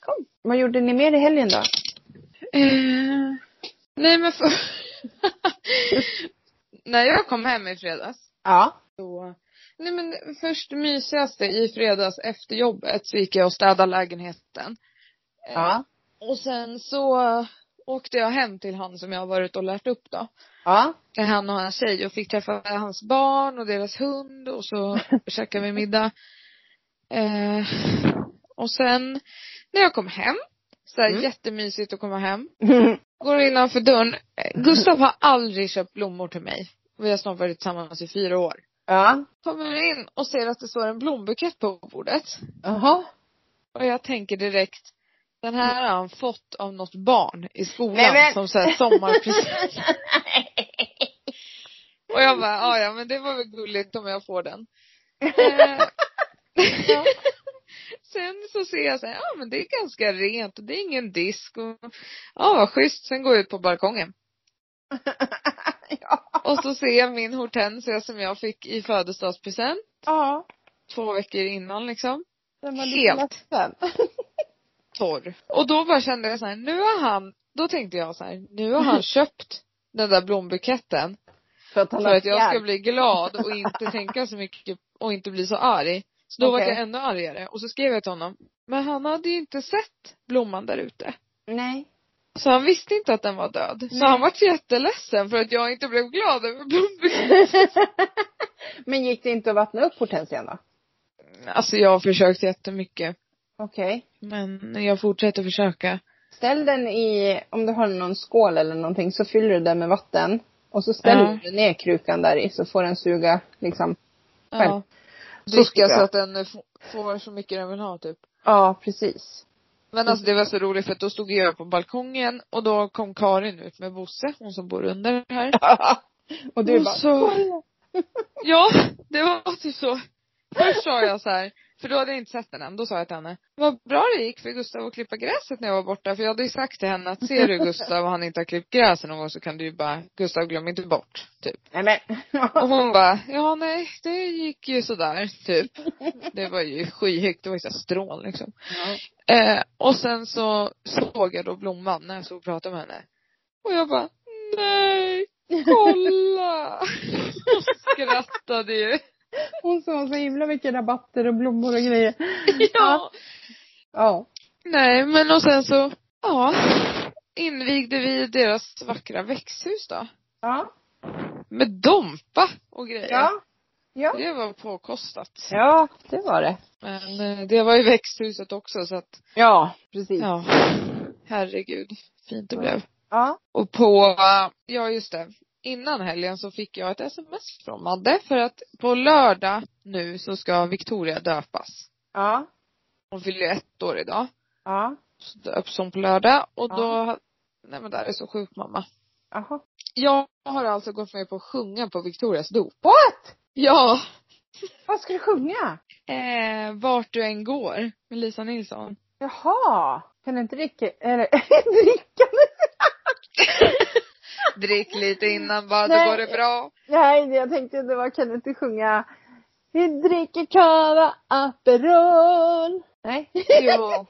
Speaker 1: Kom. Vad gjorde ni mer i helgen då?
Speaker 2: Eh, nej men för... [laughs] När jag kom hem i fredags
Speaker 1: Ja.
Speaker 2: Så, nej men först det mysigaste i fredags efter jobbet så gick jag och städade lägenheten. Eh,
Speaker 1: Ja.
Speaker 2: Och sen så eh, åkte jag hem till han som jag har varit och lärt upp då.
Speaker 1: Ja. [laughs]
Speaker 2: Till han och hans tjej och fick träffa hans barn och deras hund och så käkade vi middag. Eh, och sen när jag kom hem, så här
Speaker 1: Mm.
Speaker 2: jättemysigt att komma hem. Går innanför dörren. Eh, Gustav har aldrig köpt blommor till mig. Vi har snart varit tillsammans i fyra år
Speaker 1: ja.
Speaker 2: kommer in och ser att det står en blombukett på bordet.
Speaker 1: Jaha.
Speaker 2: Och jag tänker direkt, den här har han fått av något barn i skolan
Speaker 1: Nej, men-
Speaker 2: som såhär
Speaker 1: [laughs]
Speaker 2: sommarpresent. och jag bara, "Ja, ja men det var väl gulligt om jag
Speaker 1: [laughs]
Speaker 2: får den. Eh, [laughs] Sen så ser jag såhär, ja men det är ganska rent och det är ingen disk och ja vad schysst. Sen går jag ut på balkongen.
Speaker 1: ja.
Speaker 2: Och så ser jag min hortensia som jag fick i födelsedagspresent
Speaker 1: Ja.
Speaker 2: två veckor innan liksom.
Speaker 1: Den
Speaker 2: var
Speaker 1: var
Speaker 2: lite
Speaker 1: lite ledsen.
Speaker 2: torr. Och då bara kände jag så här, nu har han, då tänkte jag så här, nu
Speaker 1: [laughs]
Speaker 2: har han köpt den där blombuketten
Speaker 1: För att
Speaker 2: för att jag ska bli glad och inte tänka så mycket och inte bli så arg. Så då
Speaker 1: Okej.
Speaker 2: var jag ännu argare och så skrev jag till honom, men han hade ju inte sett blomman där ute.
Speaker 1: Nej.
Speaker 2: Så han visste inte att den var död. Så
Speaker 1: Nej.
Speaker 2: han var jätteledsen för att jag inte blev glad över blombuketten.
Speaker 1: [laughs] Men gick det inte att vattna upp hortensian då?
Speaker 2: Alltså jag har försökt jättemycket.
Speaker 1: Okej.
Speaker 2: Men jag fortsätter försöka.
Speaker 1: Ställ den i, om du har någon skål eller någonting, så fyller du den med vatten. Och så ställer
Speaker 2: Ja.
Speaker 1: du ner krukan där i så får den suga liksom. Själv.
Speaker 2: Ja.
Speaker 1: Så
Speaker 2: Dricka
Speaker 1: ska-
Speaker 2: så att den eh, f- får så mycket den vill ha typ.
Speaker 1: Ja, precis. [laughs]
Speaker 2: Men alltså det var så roligt för att då stod jag på balkongen och då kom Karin ut med Bosse, hon som bor under här.
Speaker 1: och du
Speaker 2: Och
Speaker 1: bara,
Speaker 2: så-
Speaker 1: "Kolla."
Speaker 2: Ja, det var typ så. Först sa jag så här, För då hade jag inte sett den än. Då sa jag till henne, vad bra det gick för Gustav att klippa gräset när jag var borta. För jag hade ju sagt till henne att ser du Gustav och han inte har klippt gräset någon gång så kan du ju bara, Gustav glöm inte bort, typ.
Speaker 1: Nej
Speaker 2: [laughs]
Speaker 1: men.
Speaker 2: Och hon bara, ja nej, det gick ju sådär, typ. Det var ju skyhögt, det var ju såhär strån liksom. Eh, och sen så såg jag då blomman när jag stod och pratade med henne. Och jag bara, nej, kolla! [laughs] och skrattade ju.
Speaker 1: Hon sa så himla mycket rabatter och blommor och grejer.
Speaker 2: [laughs]
Speaker 1: [laughs]
Speaker 2: ja.
Speaker 1: Ja.
Speaker 2: Nej, men och sen så, ja, invigde vi deras vackra växthus då.
Speaker 1: Ja.
Speaker 2: Med Dompa och grejer.
Speaker 1: Ja. Ja.
Speaker 2: Det var påkostat.
Speaker 1: Ja, det var det.
Speaker 2: Men eh, det var ju växthuset också så att,
Speaker 1: Ja, precis. Ja.
Speaker 2: ja, herregud, fint det
Speaker 1: Ja.
Speaker 2: blev.
Speaker 1: Ja.
Speaker 2: Och på, ja just det, innan helgen så fick jag ett sms från Madde för att på lördag nu så ska Victoria döpas.
Speaker 1: Ja.
Speaker 2: Hon fyller ju ett år idag.
Speaker 1: ja.
Speaker 2: Så döps hon på lördag och
Speaker 1: Ja.
Speaker 2: då, nej men där är så sjuk mamma.
Speaker 1: Jaha.
Speaker 2: Jag har alltså gått med på att sjunga på Victorias dop.
Speaker 1: What?
Speaker 2: Ja.
Speaker 1: Vad ska du sjunga?
Speaker 2: Eh, vart du än går med Lisa Nilsson.
Speaker 1: Jaha. Kan du inte dricka, eller [laughs] dricka nu? [laughs]
Speaker 2: Drick lite innan bara,
Speaker 1: Nej.
Speaker 2: då går det bra.
Speaker 1: Nej, jag tänkte det var, kan du inte sjunga Vi dricker kava Aperol. Nej. [laughs]
Speaker 2: Jo.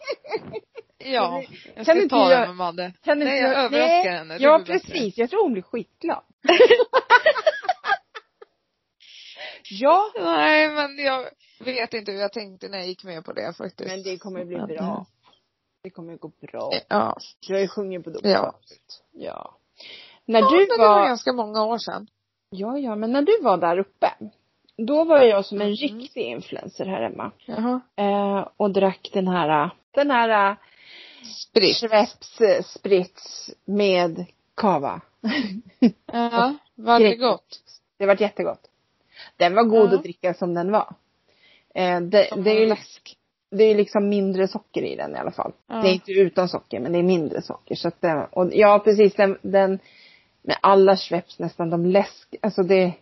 Speaker 2: Ja, jag
Speaker 1: du
Speaker 2: ska
Speaker 1: inte
Speaker 2: ta
Speaker 1: göra-
Speaker 2: det med Madde.
Speaker 1: Kan du
Speaker 2: Nej,
Speaker 1: inte
Speaker 2: jag
Speaker 1: göra-
Speaker 2: överraskar
Speaker 1: Nej.
Speaker 2: henne. Det
Speaker 1: Ja,
Speaker 2: blir bättre.
Speaker 1: precis. Jag tror hon blir
Speaker 2: [laughs]
Speaker 1: skitglad. ja.
Speaker 2: Nej, men jag vet inte hur jag tänkte när jag gick med på det faktiskt.
Speaker 1: Men det kommer bli bra. Det kommer gå bra.
Speaker 2: Ja.
Speaker 1: Jag har ju sjungit på dem
Speaker 2: Ja.
Speaker 1: förut. Ja. När
Speaker 2: ja
Speaker 1: du
Speaker 2: men det var
Speaker 1: var,
Speaker 2: ganska många år sedan.
Speaker 1: ja ja, men när du var där uppe. Då var jag som en
Speaker 2: Mhm.
Speaker 1: riktig influencer här hemma.
Speaker 2: Jaha.
Speaker 1: Eh, och drack den här, eh, den här eh,
Speaker 2: Spritt.
Speaker 1: Schweppes eh, Spritz med
Speaker 2: [laughs]
Speaker 1: kava.
Speaker 2: Ja. Var det
Speaker 1: Grekiskt.
Speaker 2: gott?
Speaker 1: Det vart jättegott. Den var god
Speaker 2: Ja.
Speaker 1: att dricka som den var. Eh, det,
Speaker 2: Som
Speaker 1: det är ju
Speaker 2: en
Speaker 1: li-
Speaker 2: läsk.
Speaker 1: det är ju liksom mindre socker i den i alla fall.
Speaker 2: Ja.
Speaker 1: Det är inte utan socker men det är mindre socker så att den, och ja precis den, den med alla Schweppes nästan de läsk, alltså det,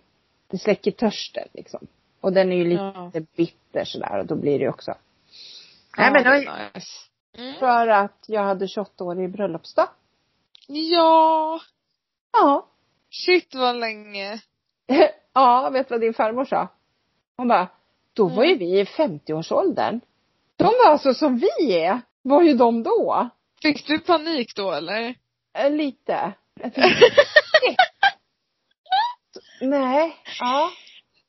Speaker 1: det släcker törsten liksom. Och den är ju lite
Speaker 2: Ja.
Speaker 1: bitter sådär och då blir det ju också.
Speaker 2: Ja,
Speaker 1: Nej men
Speaker 2: det
Speaker 1: det var
Speaker 2: är nice. Mm.
Speaker 1: för att jag hade 28 år i bröllopsdag.
Speaker 2: Ja.
Speaker 1: Ja.
Speaker 2: Shit vad länge.
Speaker 1: [laughs] ja, vet du vad din farmor sa? Hon bara, då var ju
Speaker 2: Mm.
Speaker 1: vi i 50-årsåldern. De var alltså som vi är, var ju de då.
Speaker 2: Fick du panik då eller?
Speaker 1: Eh, Lite. Jag tänkte, [laughs] shit. Nej, ja.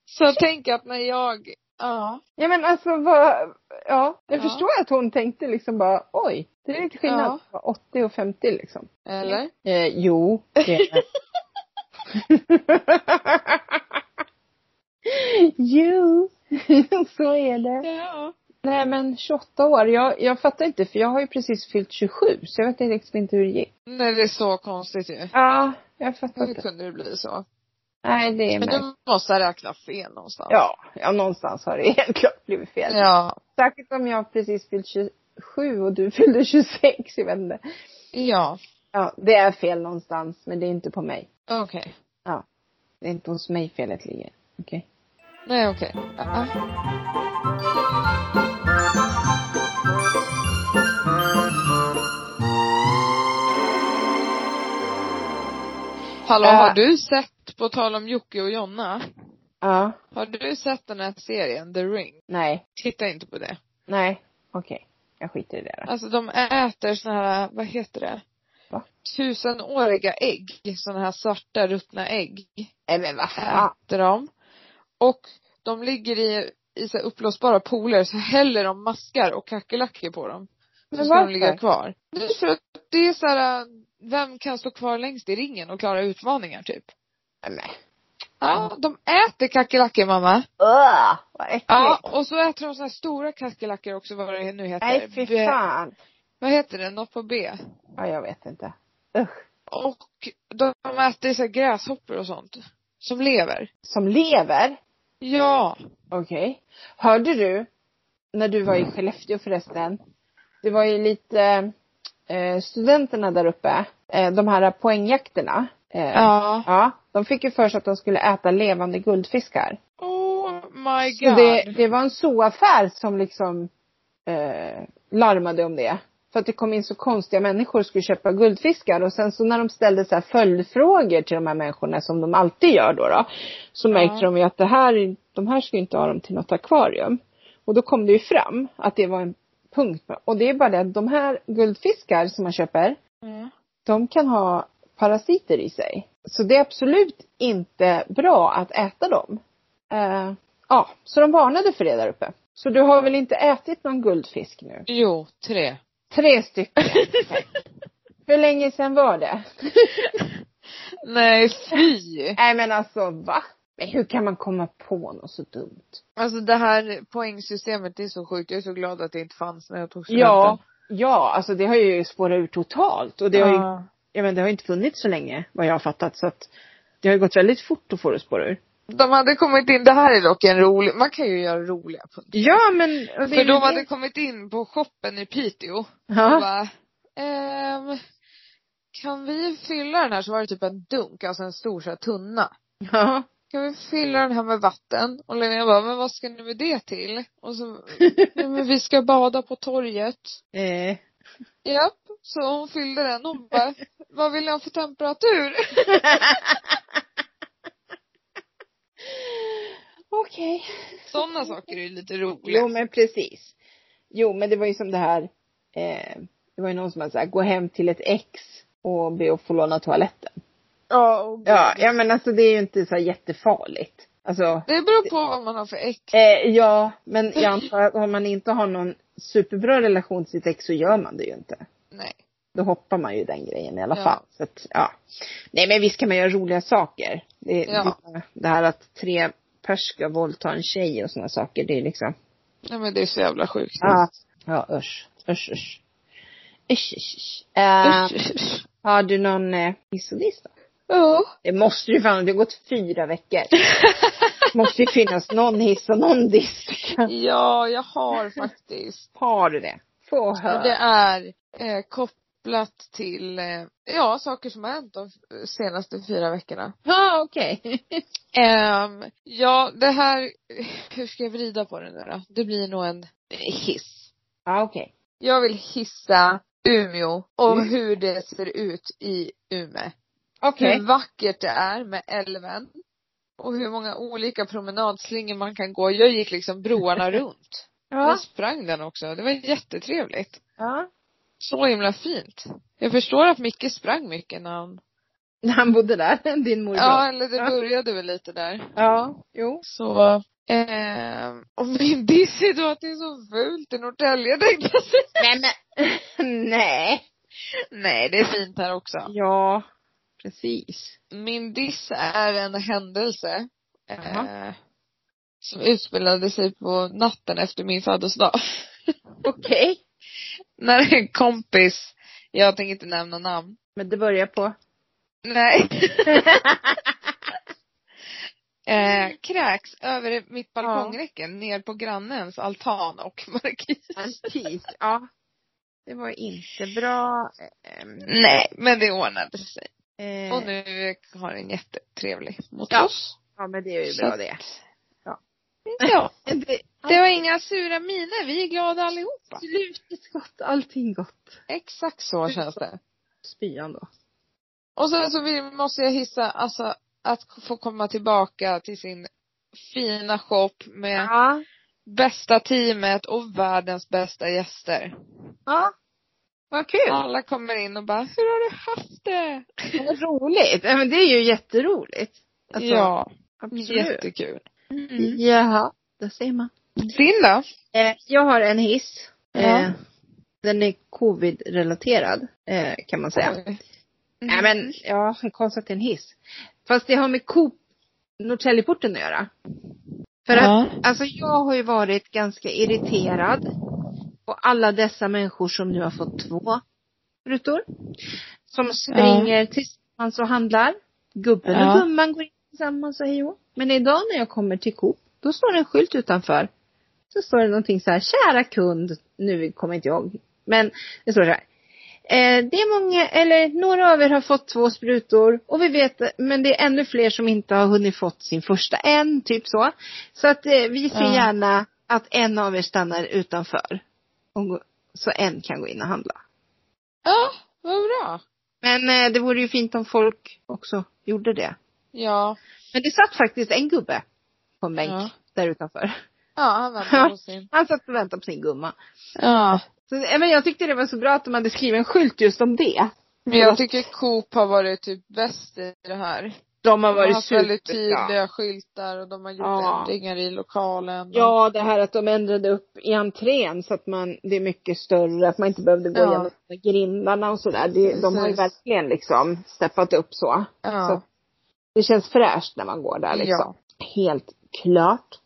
Speaker 2: Så tänk att när jag, ja.
Speaker 1: Ja men alltså vad, ja. Jag
Speaker 2: Ja.
Speaker 1: förstår att hon tänkte liksom bara, oj, det är lite skillnad på 80 och 50 liksom.
Speaker 2: Eller?
Speaker 1: Eh, jo, det är det. [laughs] Jo, [laughs] så är det.
Speaker 2: Ja.
Speaker 1: Nej men 28 år, jag, jag fattar inte för jag har ju precis fyllt 27 så jag vet liksom inte hur det gick.
Speaker 2: Nej det är så konstigt ju.
Speaker 1: Ja, jag fattar
Speaker 2: Hur
Speaker 1: inte.
Speaker 2: kunde det bli så?
Speaker 1: Nej det är
Speaker 2: Men
Speaker 1: märkligt.
Speaker 2: du måste ha räknat fel någonstans.
Speaker 1: Ja, ja någonstans har det [laughs] helt klart blivit fel.
Speaker 2: Ja.
Speaker 1: Särskilt om jag precis fyllt 27 och du fyllde 26, jag vet inte.
Speaker 2: Ja.
Speaker 1: Ja, det är fel någonstans men det är inte på mig.
Speaker 2: Okej.
Speaker 1: Det är inte hos mig felet ligger. Okej.
Speaker 2: Nej okej. Ja. Hallå,
Speaker 1: Äh.
Speaker 2: har du sett, på tal om Jocke och Jonna,
Speaker 1: Ja,
Speaker 2: har du sett den här serien The Ring?
Speaker 1: nej,
Speaker 2: Titta inte på det.
Speaker 1: nej, okej. Jag skiter i det då.
Speaker 2: Alltså de äter såna här, vad heter det?
Speaker 1: Va?
Speaker 2: Tusenåriga ägg. Såna här svarta ruttna ägg
Speaker 1: Nej men vad fan.
Speaker 2: äter de. Och de ligger i, i så här uppblåsbara pooler så häller de maskar och kackerlackor på dem. Så
Speaker 1: Men
Speaker 2: ska
Speaker 1: varför?
Speaker 2: de ligga kvar. Det är för att det är så här, äh, vem kan stå kvar längst i ringen och klara utmaningar typ?
Speaker 1: Nej men.
Speaker 2: Ja, de äter kackerlackor mamma.
Speaker 1: Öh, vad äckligt.
Speaker 2: Ja, och så äter de så här stora kackerlackor också vad det nu heter.
Speaker 1: nej fy
Speaker 2: B-
Speaker 1: fan.
Speaker 2: Vad heter det? Något på B.
Speaker 1: Ja, jag vet inte. Usch.
Speaker 2: Och de äter så här gräshoppor och sånt. Som lever.
Speaker 1: Som lever?
Speaker 2: Ja.
Speaker 1: Okej. Hörde du, när du var i Skellefteå förresten, det var ju lite eh, studenterna där uppe, eh, de här poängjakterna. Eh,
Speaker 2: Ja.
Speaker 1: ja. De fick ju för sig att de skulle äta levande guldfiskar.
Speaker 2: Åh, my
Speaker 1: Så
Speaker 2: god.
Speaker 1: det, det var en zooaffär som liksom eh, larmade om det. För att det kom in så konstiga människor och skulle köpa guldfiskar och sen så när de ställde så här följdfrågor till de här människorna som de alltid gör då, då så märkte de ju att det här, de här ska ju inte ha dem till något akvarium. Och då kom det ju fram att det var en punkt. Och det är bara det att de här guldfiskar som man köper,
Speaker 2: Mm.
Speaker 1: de kan ha parasiter i sig. Så det är absolut inte bra att äta dem. Eh, ja, så de varnade för det där uppe. Så du har väl inte ätit någon guldfisk nu?
Speaker 2: Jo,
Speaker 1: [laughs]
Speaker 2: tre.
Speaker 1: Tre stycken. Hur länge sedan var
Speaker 2: [laughs]
Speaker 1: det?
Speaker 2: Nej, fy.
Speaker 1: Nej men alltså va? Men hur kan man komma på något så dumt?
Speaker 2: Alltså det här poängsystemet, det är så sjukt. Jag är så glad att det inte fanns när jag tog studenten.
Speaker 1: Ja, ja alltså det har ju spårat ur totalt och det har ju,
Speaker 2: Ja.
Speaker 1: ja men det har ju inte funnits så länge vad jag har fattat så att det har ju gått väldigt fort att få det att spåra ur.
Speaker 2: De hade kommit in, det här är dock en rolig, man kan ju göra roliga punkter.
Speaker 1: Ja men. och det är
Speaker 2: För de
Speaker 1: ju
Speaker 2: hade
Speaker 1: det-
Speaker 2: kommit in på shoppen i Piteå och
Speaker 1: Ja.
Speaker 2: bara, ehm, kan vi fylla den här, så var det typ en dunk, alltså en stor så här tunna.
Speaker 1: ja.
Speaker 2: Kan vi fylla den här med vatten? Och Linnea bara, men vad ska ni med det till? Och så, ja, men vi ska bada på torget.
Speaker 1: Eh.
Speaker 2: Japp, så hon fyllde den. Hon bara, vad vill ni ha för temperatur?
Speaker 1: Okej.
Speaker 2: Sådana saker är ju lite
Speaker 1: Jo
Speaker 2: roliga.
Speaker 1: men precis. Jo men det var ju som det här, eh, det var ju någon som hade sagt gå hem till ett ex och be att få låna toaletten.
Speaker 2: Ja, och-
Speaker 1: Ja, ja men alltså det är ju inte så här jättefarligt. Alltså,
Speaker 2: Det beror på vad man har för äck.
Speaker 1: eh, ja men jag antar att om man inte har någon superbra relation till sitt ex så gör man det ju inte.
Speaker 2: Nej.
Speaker 1: Då hoppar man ju den grejen i alla
Speaker 2: Ja.
Speaker 1: fall. Så att, ja. Nej men visst kan man göra roliga saker. Det,
Speaker 2: Ja.
Speaker 1: det, det här att tre pers ska våldta en tjej och sådana saker, det är liksom
Speaker 2: Nej men det är så jävla sjukt.
Speaker 1: Ja. Ja, usch. Usch, usch. Usch, usch, usch. Eh, har du någon eh, hissolista?
Speaker 2: Ja.
Speaker 1: Det måste ju fan, det har gått fyra veckor. måste ju finnas någon hiss och någon disk.
Speaker 2: Ja, jag har faktiskt.
Speaker 1: Har du det? Få höra.
Speaker 2: Och det är eh, kopplat till, eh, ja, saker som har hänt de f- senaste fyra veckorna.
Speaker 1: Ja, okej.
Speaker 2: Ehm, ja, det här, [laughs] hur ska jag vrida på det nu då? Det blir nog en hiss.
Speaker 1: Ja, okej.
Speaker 2: Jag vill hissa Umeå och
Speaker 1: Mm.
Speaker 2: hur det ser ut i Umeå.
Speaker 1: Okej.
Speaker 2: Hur vackert det är med älven. Och hur många olika promenadslingor man kan gå. Jag gick
Speaker 1: [laughs]
Speaker 2: liksom broarna runt.
Speaker 1: Ja.
Speaker 2: Jag sprang den också. Det var jättetrevligt.
Speaker 1: ja.
Speaker 2: Så himla fint. Jag förstår att Micke sprang mycket när han...
Speaker 1: När han bodde där, [laughs] din morbror.
Speaker 2: Ja, eller det
Speaker 1: Ja.
Speaker 2: började väl lite där.
Speaker 1: Ja, jo.
Speaker 2: Så, eh, och min diss är då att det är så fult i Norrtälje tänkte jag säga.
Speaker 1: Nej men. [laughs] Nej.
Speaker 2: Nej, det är fint här också.
Speaker 1: Ja, precis.
Speaker 2: min diss är en händelse. Eh,
Speaker 1: Jaha.
Speaker 2: som utspelade sig på natten efter min födelsedag. [laughs]
Speaker 1: Okej.
Speaker 2: När en kompis, jag tänker inte nämna namn.
Speaker 1: Men det börjar [laughs] på.
Speaker 2: Nej.
Speaker 1: Mm.
Speaker 2: eh, kräks över mitt balkongräcke ner på grannens altan och [laughs] markis.
Speaker 1: Precis, ja. Det var inte bra. Ehm,
Speaker 2: Nej, men det ordnade sig.
Speaker 1: eh,
Speaker 2: Och nu har den jättetrevlig mot
Speaker 1: Ja.
Speaker 2: oss.
Speaker 1: Ja men det är ju bra det. Ja.
Speaker 2: Ja.
Speaker 1: det
Speaker 2: Det var inga sura miner. Vi är glada allihopa.
Speaker 1: slutet gott, allting gott.
Speaker 2: Exakt så känns det.
Speaker 1: Spyan då.
Speaker 2: Och sen så vill, måste jag hissa, alltså att få komma tillbaka till sin fina shop med
Speaker 1: Ja.
Speaker 2: bästa teamet och världens bästa gäster.
Speaker 1: Ja. Vad kul.
Speaker 2: Alla kommer in och bara, hur har du haft det?
Speaker 1: Vad roligt. Ja, men det är ju jätteroligt. Alltså,
Speaker 2: ja,
Speaker 1: absolut.
Speaker 2: jättekul. Mm.
Speaker 1: Jaha, där ser man.
Speaker 2: Din då?
Speaker 1: Eh, jag har en hiss.
Speaker 2: Ja.
Speaker 1: Eh, den är covid-relaterad eh, kan man säga.
Speaker 2: Oj.
Speaker 1: Nej
Speaker 2: Mm.
Speaker 1: men, ja, konstigt att det är en hiss. Fast det har med Coop, Norrtäljeporten att göra. För att,
Speaker 2: Ja.
Speaker 1: alltså jag har ju varit ganska irriterad på alla dessa människor som nu har fått två rutor. Som springer tillsammans och handlar. Gubben
Speaker 2: Ja.
Speaker 1: och gumman går in tillsammans och hej och hå. Men idag när jag kommer till Coop, då står det en skylt utanför. Så står det någonting så här, kära kund, nu kommer inte jag, men det står så här. Eh, det är många, eller några av er har fått två sprutor och vi vet, men det är ännu fler som inte har hunnit fått sin första än, typ så. Så att eh, vi ser
Speaker 3: Ja.
Speaker 1: gärna att en av er stannar utanför. Och, gå- så en kan gå in och handla.
Speaker 2: Ja, vad bra.
Speaker 1: Men eh, det vore ju fint om folk också gjorde det.
Speaker 2: Ja.
Speaker 1: Men det satt faktiskt en gubbe på en bänk
Speaker 2: Ja.
Speaker 1: där utanför.
Speaker 2: Ja, han väntar på sin.
Speaker 1: Han satt och väntade på sin gumma.
Speaker 2: Ja.
Speaker 1: Så, eh, men jag tyckte det var så bra att de hade skrivit en skylt just om det.
Speaker 2: Men jag tycker Coop har varit typ bäst i det här.
Speaker 1: De har
Speaker 2: De har
Speaker 1: varit
Speaker 2: haft väldigt
Speaker 1: superbra.
Speaker 2: tydliga skyltar och de har gjort
Speaker 1: Ja.
Speaker 2: ändringar i lokalen. och-
Speaker 1: Ja, det här att de ändrade upp i entrén så att man, det är mycket större, att man inte behövde gå
Speaker 2: Ja.
Speaker 1: igenom grindarna och sådär. Det- De har ju
Speaker 2: Precis.
Speaker 1: verkligen liksom steppat upp så. Så
Speaker 2: Ja.
Speaker 1: att det känns fräscht när man går där liksom.
Speaker 2: Ja.
Speaker 1: Helt klart.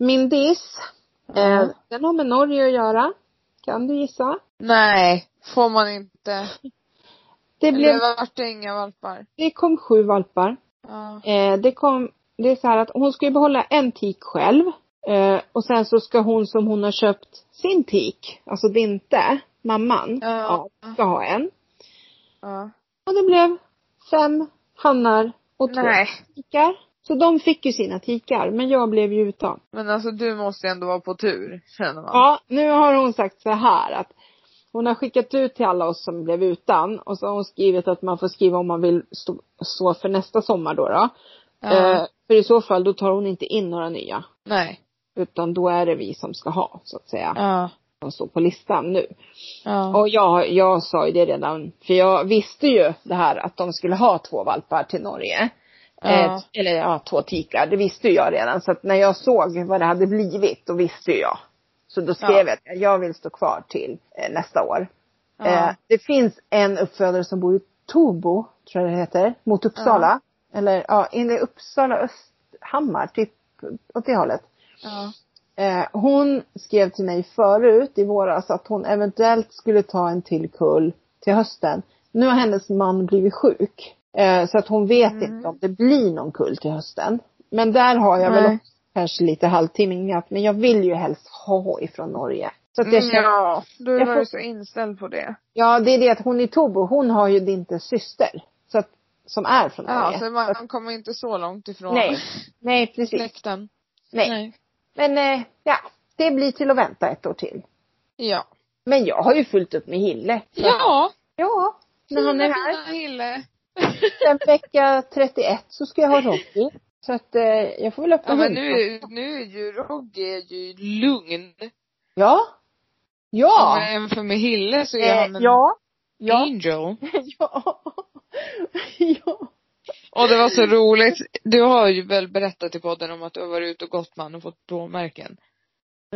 Speaker 1: Min diss, eh,
Speaker 2: Ja.
Speaker 1: den har med Norge att göra. Kan du gissa?
Speaker 2: Nej, får man inte.
Speaker 1: Det,
Speaker 2: Det
Speaker 1: blev,
Speaker 2: blev... vart det inga valpar.
Speaker 1: det kom sju valpar.
Speaker 2: Ja.
Speaker 1: Eh, det kom, det är så här att hon ska ju behålla en tik själv. Eh, och sen så ska hon som hon har köpt sin tik, alltså inte mamman,
Speaker 2: Ja.
Speaker 1: ja, ska ha en.
Speaker 2: ja.
Speaker 1: Och det blev fem hannar och två
Speaker 2: Nej.
Speaker 1: tikar. Så de fick ju sina tikar, men jag blev ju utan.
Speaker 2: Men alltså du måste ju ändå vara på tur, känner man.
Speaker 1: Ja, nu har hon sagt så här att hon har skickat ut till alla oss som blev utan och så har hon skrivit att man får skriva om man vill stå, stå för nästa sommar då. då.
Speaker 2: Ja.
Speaker 1: Eh, för i så fall då tar hon inte in några nya.
Speaker 2: Nej.
Speaker 1: Utan då är det vi som ska ha, så att säga,
Speaker 2: Ja.
Speaker 1: som står på listan nu.
Speaker 2: Ja.
Speaker 1: Och jag, jag sa ju det redan, för jag visste ju det här att de skulle ha två valpar till Norge.
Speaker 2: Ja.
Speaker 1: Eh, eller ja, två tikar, det visste ju jag redan. Så att när jag såg vad det hade blivit, då visste ju jag. Så då skrev
Speaker 2: Ja.
Speaker 1: jag att jag vill stå kvar till eh, nästa år.
Speaker 2: Ja.
Speaker 1: Eh, det finns en uppfödare som bor i Tobo, tror jag det heter, mot Uppsala. Eller ja, inne i Uppsala, Östhammar, typ åt det hållet.
Speaker 2: ja.
Speaker 1: Eh, hon skrev till mig förut i våras att hon eventuellt skulle ta en till kull till hösten. Nu har hennes man blivit sjuk. Eh, så att hon vet
Speaker 2: Mm.
Speaker 1: inte om det blir någon kull till hösten. Men där har jag väl
Speaker 2: Nej.
Speaker 1: också kanske lite halvtimmingat. Men jag vill ju helst ha ifrån Norge. Så att jag
Speaker 2: Mm,
Speaker 1: känner, ja.
Speaker 2: ja. Du
Speaker 1: jag
Speaker 2: var
Speaker 1: får-
Speaker 2: ju så inställd på det.
Speaker 1: det är det att hon i Tobo, hon har ju inte syster. Så att, som är från Norge.
Speaker 2: Ja, så
Speaker 1: Så att,
Speaker 2: man kommer inte så långt ifrån
Speaker 1: Nej. nej, precis.
Speaker 2: släkten.
Speaker 1: Nej. Men eh, ja, det blir till att vänta ett år till.
Speaker 2: Ja.
Speaker 1: Men jag har ju fullt upp med Hille. Så att-
Speaker 2: Ja.
Speaker 1: Ja, när han är här.
Speaker 2: Fina Hille.
Speaker 1: Sen vecka 31 så ska jag ha Rocky. Så att eh, jag får väl öppna
Speaker 2: Ja men nu,
Speaker 1: hundfrågan.
Speaker 2: är- nu är ju Rogge är ju lugn.
Speaker 1: Ja.
Speaker 2: Ja.
Speaker 1: Ja.
Speaker 2: Men jämfört med Hille så är
Speaker 1: Eh,
Speaker 2: han en
Speaker 1: ja. Ja.
Speaker 2: angel.
Speaker 1: Ja. [laughs] ja.
Speaker 2: Och det var så roligt. Du har ju väl berättat i podden om att du har varit ute och gått med han och fått blåmärken.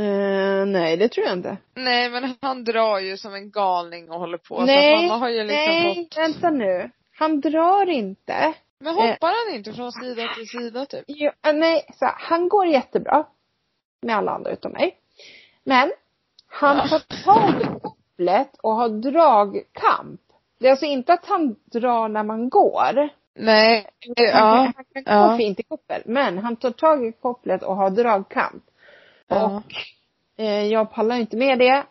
Speaker 1: Eh, nej, det tror jag inte.
Speaker 2: Nej men han drar ju som en galning och håller på.
Speaker 1: Nej,
Speaker 2: Så Alltså, att mamma har ju liksom
Speaker 1: nej,
Speaker 2: fått.
Speaker 1: vänta nu. Han drar inte.
Speaker 2: Men
Speaker 1: Eh.
Speaker 2: hoppar han inte från sida till sida typ?
Speaker 1: Jo, eh, nej, så här, han går jättebra. Med alla andra utom mig. Men han
Speaker 2: Ja.
Speaker 1: tar tag i kopplet och har dragkamp. Det är alltså inte att han drar när man går.
Speaker 2: Nej.
Speaker 1: Han
Speaker 2: Ja.
Speaker 1: kan- han kan
Speaker 2: ja.
Speaker 1: gå fint i koppel. Men han tar tag i kopplet och har dragkamp.
Speaker 2: Ja.
Speaker 1: Och eh, jag pallar inte med det.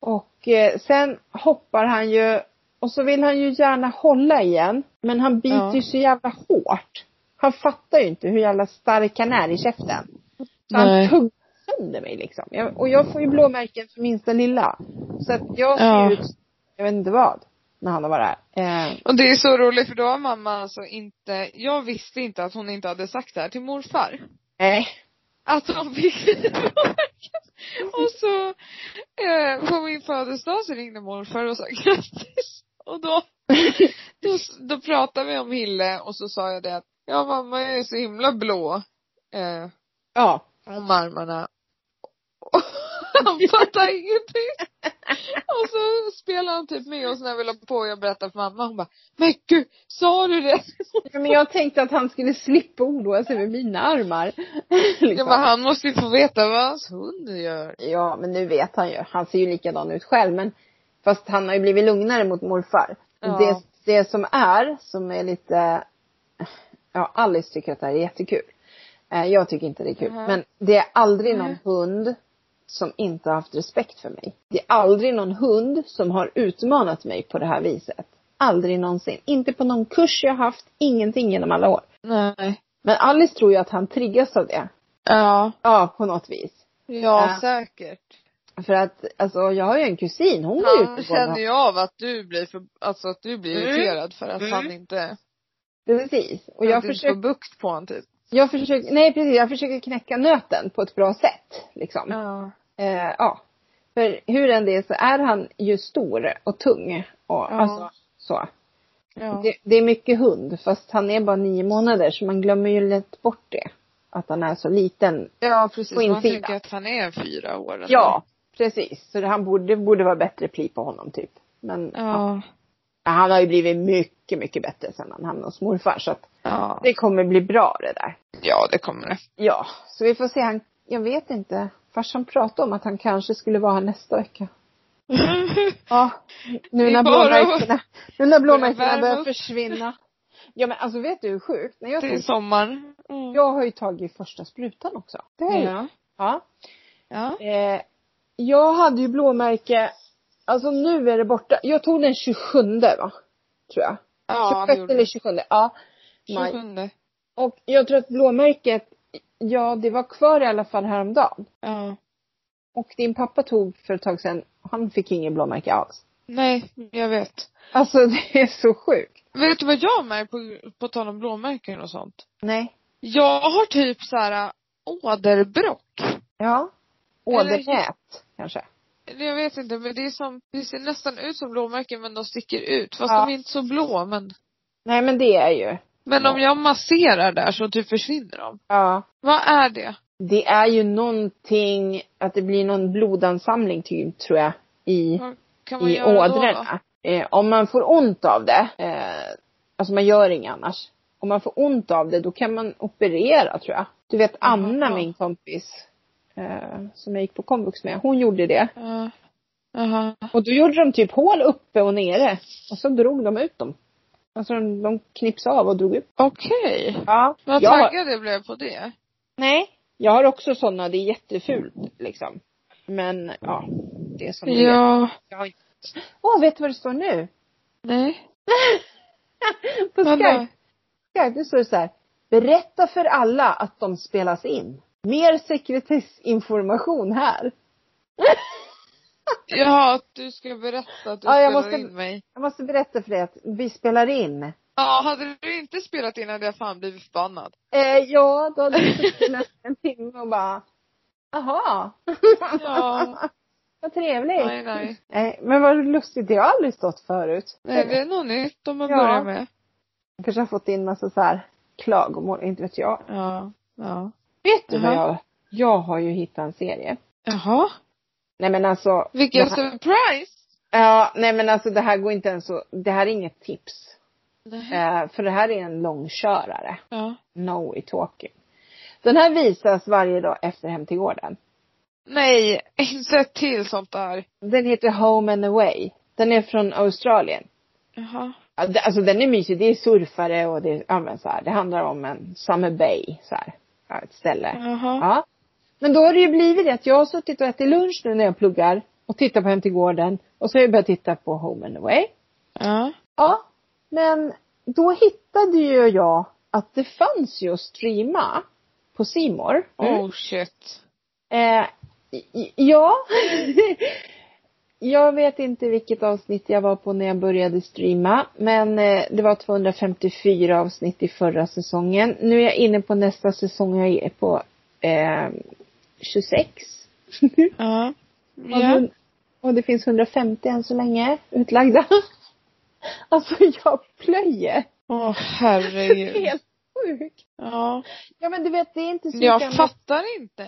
Speaker 1: Och eh, sen hoppar han ju och så vill han ju gärna hålla igen. Men han biter
Speaker 2: Ja.
Speaker 1: ju så jävla hårt. Han fattar ju inte hur jävla stark han är i käften. Så
Speaker 2: Nej.
Speaker 1: han tuggar sönder mig liksom. Jag, och jag får ju blåmärken för minsta lilla. Så att jag ser
Speaker 2: Ja.
Speaker 1: ut, jag vet inte vad, när han har varit här. Eh,
Speaker 2: Och det är så roligt för då har mamma alltså inte, jag visste inte att hon inte hade sagt det här till morfar.
Speaker 1: nej.
Speaker 2: Att hon fick [laughs] blåmärken. Och så eh, på min födelsedag så ringde morfar och sa grattis. Och då, då, då pratade vi om Hille och så sa jag det att, ja mamma jag är så himla blå eh,
Speaker 1: Ja.
Speaker 2: om armarna. [laughs] Och han fattar ingenting. Och så spelar han typ med oss när vi la på och jag berättar för mamma. Hon bara, men gud, sa
Speaker 1: [laughs]
Speaker 2: du det?
Speaker 1: Ja, men jag tänkte att han skulle slippa oroa sig över mina armar. [laughs]
Speaker 2: Jag
Speaker 1: liksom.
Speaker 2: bara, han måste ju få veta vad hans hund gör.
Speaker 1: Ja, men nu vet han ju. Han ser ju likadan ut själv. Men, fast han har ju blivit lugnare mot morfar.
Speaker 2: Ja.
Speaker 1: Det, det som är, som är lite... Ja, Alice tycker att det här är jättekul. Eh, Jag tycker inte det är kul.
Speaker 2: Mhm.
Speaker 1: Men det är aldrig någon
Speaker 2: Mhm.
Speaker 1: hund som inte har haft respekt för mig. Det är aldrig någon hund som har utmanat mig på det här viset. Aldrig någonsin. Inte på någon kurs jag haft, ingenting genom alla år.
Speaker 2: Nej.
Speaker 1: Men Alice tror ju att han triggas av det.
Speaker 2: Ja.
Speaker 1: Ja, på något vis.
Speaker 2: Ja,
Speaker 1: Ja.
Speaker 2: säkert.
Speaker 1: För att, alltså jag har ju en kusin, hon är
Speaker 2: Han
Speaker 1: ute på den
Speaker 2: känner
Speaker 1: här.
Speaker 2: ju av att du blir för, alltså att du blir
Speaker 1: Mm.
Speaker 2: irriterad för att
Speaker 1: Mm.
Speaker 2: han inte,
Speaker 1: Precis. Och jag
Speaker 2: att du inte
Speaker 1: försöker,
Speaker 2: får bukt på honom typ.
Speaker 1: jag försöker, nej precis, jag försöker knäcka nöten på ett bra sätt. Liksom.
Speaker 2: Ja.
Speaker 1: Eh, ja. För hur än det är så är han ju stor och tung. Och, Alltså, så.
Speaker 2: Ja.
Speaker 1: Det, det är mycket hund fast han är bara nio månader så man glömmer ju lätt bort det. Att han är så liten.
Speaker 2: ja, precis.
Speaker 1: på
Speaker 2: Man
Speaker 1: insidan.
Speaker 2: tänker att han är fyra år. ändå.
Speaker 1: precis. Så det, han borde, det borde vara bättre pli på honom typ. Men ja.
Speaker 2: Ja.
Speaker 1: han har ju blivit mycket, mycket bättre sen han hamnade hos morfar så att
Speaker 2: Ja.
Speaker 1: det kommer bli bra det där.
Speaker 2: Ja, det kommer det.
Speaker 1: Ja, så vi får se. Han, jag vet inte. Farsan pratade om att han kanske skulle vara här nästa vecka.
Speaker 2: Mm. [laughs]
Speaker 1: Ja, nu
Speaker 2: Vi
Speaker 1: när
Speaker 2: bara-
Speaker 1: blåmärkena, nu när blåmärkena
Speaker 2: värma
Speaker 1: börjar
Speaker 2: upp.
Speaker 1: försvinna. Ja men alltså vet du hur sjukt? När jag,
Speaker 2: Till
Speaker 1: tog,
Speaker 2: sommaren. Mm.
Speaker 1: jag har ju tagit första sprutan också. Det har jag.
Speaker 2: Ja.
Speaker 1: Ja.
Speaker 2: Ja.
Speaker 1: Eh, jag hade ju blåmärke, alltså nu är det borta. Jag tog den 27 va? Tror jag.
Speaker 2: Ja, det
Speaker 1: 26
Speaker 2: gjorde
Speaker 1: eller
Speaker 2: det.
Speaker 1: 27, ja. Maj.
Speaker 2: 27.
Speaker 1: Och jag tror att blåmärket, ja det var kvar i alla fall häromdagen.
Speaker 2: Ja.
Speaker 1: Och din pappa tog för ett tag sedan, han fick ingen blåmärke alls.
Speaker 2: Nej, jag vet.
Speaker 1: Alltså [laughs] det är så sjukt.
Speaker 2: Vet du vad jag märker på, på tal om blåmärken och sånt?
Speaker 1: Nej.
Speaker 2: Jag har typ så här åderbråck.
Speaker 1: Ja. Ådernät kanske.
Speaker 2: Eller Jag vet inte, men det är som, det ser nästan ut som blåmärken men de sticker ut. Fast
Speaker 1: Ja.
Speaker 2: de är inte så blå men.
Speaker 1: Nej men det är ju.
Speaker 2: Men
Speaker 1: Ja.
Speaker 2: om jag masserar där så typ försvinner de.
Speaker 1: Ja.
Speaker 2: Vad är det?
Speaker 1: Det är ju någonting, att det blir någon blodansamling typ tror jag i,
Speaker 2: Vad kan man
Speaker 1: i
Speaker 2: göra då, då?
Speaker 1: ådrorna. Eh, om man får ont av det, eh, alltså man gör inget annars. Om man får ont av det då kan man operera tror jag. Du vet Anna
Speaker 2: Jaha.
Speaker 1: min kompis, eh, som jag gick på komvux med, hon gjorde det.
Speaker 2: Ja. Jaha.
Speaker 1: Och då gjorde de typ hål uppe och nere. Och så drog de ut dem. Alltså de, de knipsade av och drog ut.
Speaker 2: Okej.
Speaker 1: Ja.
Speaker 2: Vad
Speaker 1: Jag har,
Speaker 2: taggad jag blev på det.
Speaker 1: nej. Jag har också sådana. Det är jättefult liksom. Men ja. Det är som det är.
Speaker 2: Ja.
Speaker 1: Jag har inte- Åh, vet du vad det står nu?
Speaker 2: Nej.
Speaker 1: På
Speaker 2: Men,
Speaker 1: Skype. eh, Skype, nu står det så här. Berätta för alla att de spelas in. Mer sekretessinformation här.
Speaker 2: Ja, att du ska berätta att du
Speaker 1: Ja, jag
Speaker 2: spelar
Speaker 1: måste-
Speaker 2: in mig.
Speaker 1: Jag måste berätta för dig att vi spelar in.
Speaker 2: Ja, hade du inte spelat in hade jag fan blivit förbannad.
Speaker 1: Eh, ja, då hade vi [laughs] suttit nästan en timme och bara, aha.
Speaker 2: Ja.
Speaker 1: [laughs] Vad trevligt.
Speaker 2: [laughs] Nej, nej.
Speaker 1: Nej, men vad lustigt, det har jag aldrig stått förut.
Speaker 2: Nej, det är något nytt de har
Speaker 1: Ja.
Speaker 2: börjat med.
Speaker 1: Jag kanske har fått in massa så här klagomål, inte vet jag.
Speaker 2: Ja. Ja.
Speaker 1: Vet du vad
Speaker 2: Jaha.
Speaker 1: jag, jag har ju hittat en serie.
Speaker 2: Jaha.
Speaker 1: Nej men alltså.
Speaker 2: Vilken
Speaker 1: det här,
Speaker 2: surprise!
Speaker 1: Ja, nej men alltså det här går inte ens så, det här är inget tips.
Speaker 2: Nej.
Speaker 1: Eh, för det här är en långkörare.
Speaker 2: Ja.
Speaker 1: No i talking. Den här visas varje dag efter Hem till gården.
Speaker 2: Nej, inte ett till sånt där.
Speaker 1: Den heter Home and Away. Den är från Australien.
Speaker 2: Jaha.
Speaker 1: Ja, det- Alltså den är mysig. Det är surfare och det är, ja, men så här, det handlar om en summer bay så här. Ja, ett ställe.
Speaker 2: Jaha.
Speaker 1: Ja. Men då har det ju blivit det att jag har suttit och ätit lunch nu när jag pluggar och tittar på Hem till gården och så har jag börjat titta på Home and Away.
Speaker 2: Ja.
Speaker 1: Ja. Men då hittade ju jag att det fanns ju att streama på Simor.
Speaker 2: Oh shit.
Speaker 1: Eh, i- i- ja. [laughs] jag vet inte vilket avsnitt jag var på när jag började streama. Men eh, det var 254 avsnitt i förra säsongen. Nu är jag inne på nästa säsong. Jag är på eh, 26.
Speaker 2: Ja.
Speaker 1: Och
Speaker 2: Ja.
Speaker 1: hun- Och det finns 150 än så länge utlagda. [laughs] alltså jag plöjer.
Speaker 2: Åh
Speaker 1: Det är
Speaker 2: herregud.
Speaker 1: [laughs] helt sjukt.
Speaker 2: Ja.
Speaker 1: Ja men du vet det är inte så
Speaker 2: Jag
Speaker 1: gammal-
Speaker 2: fattar inte.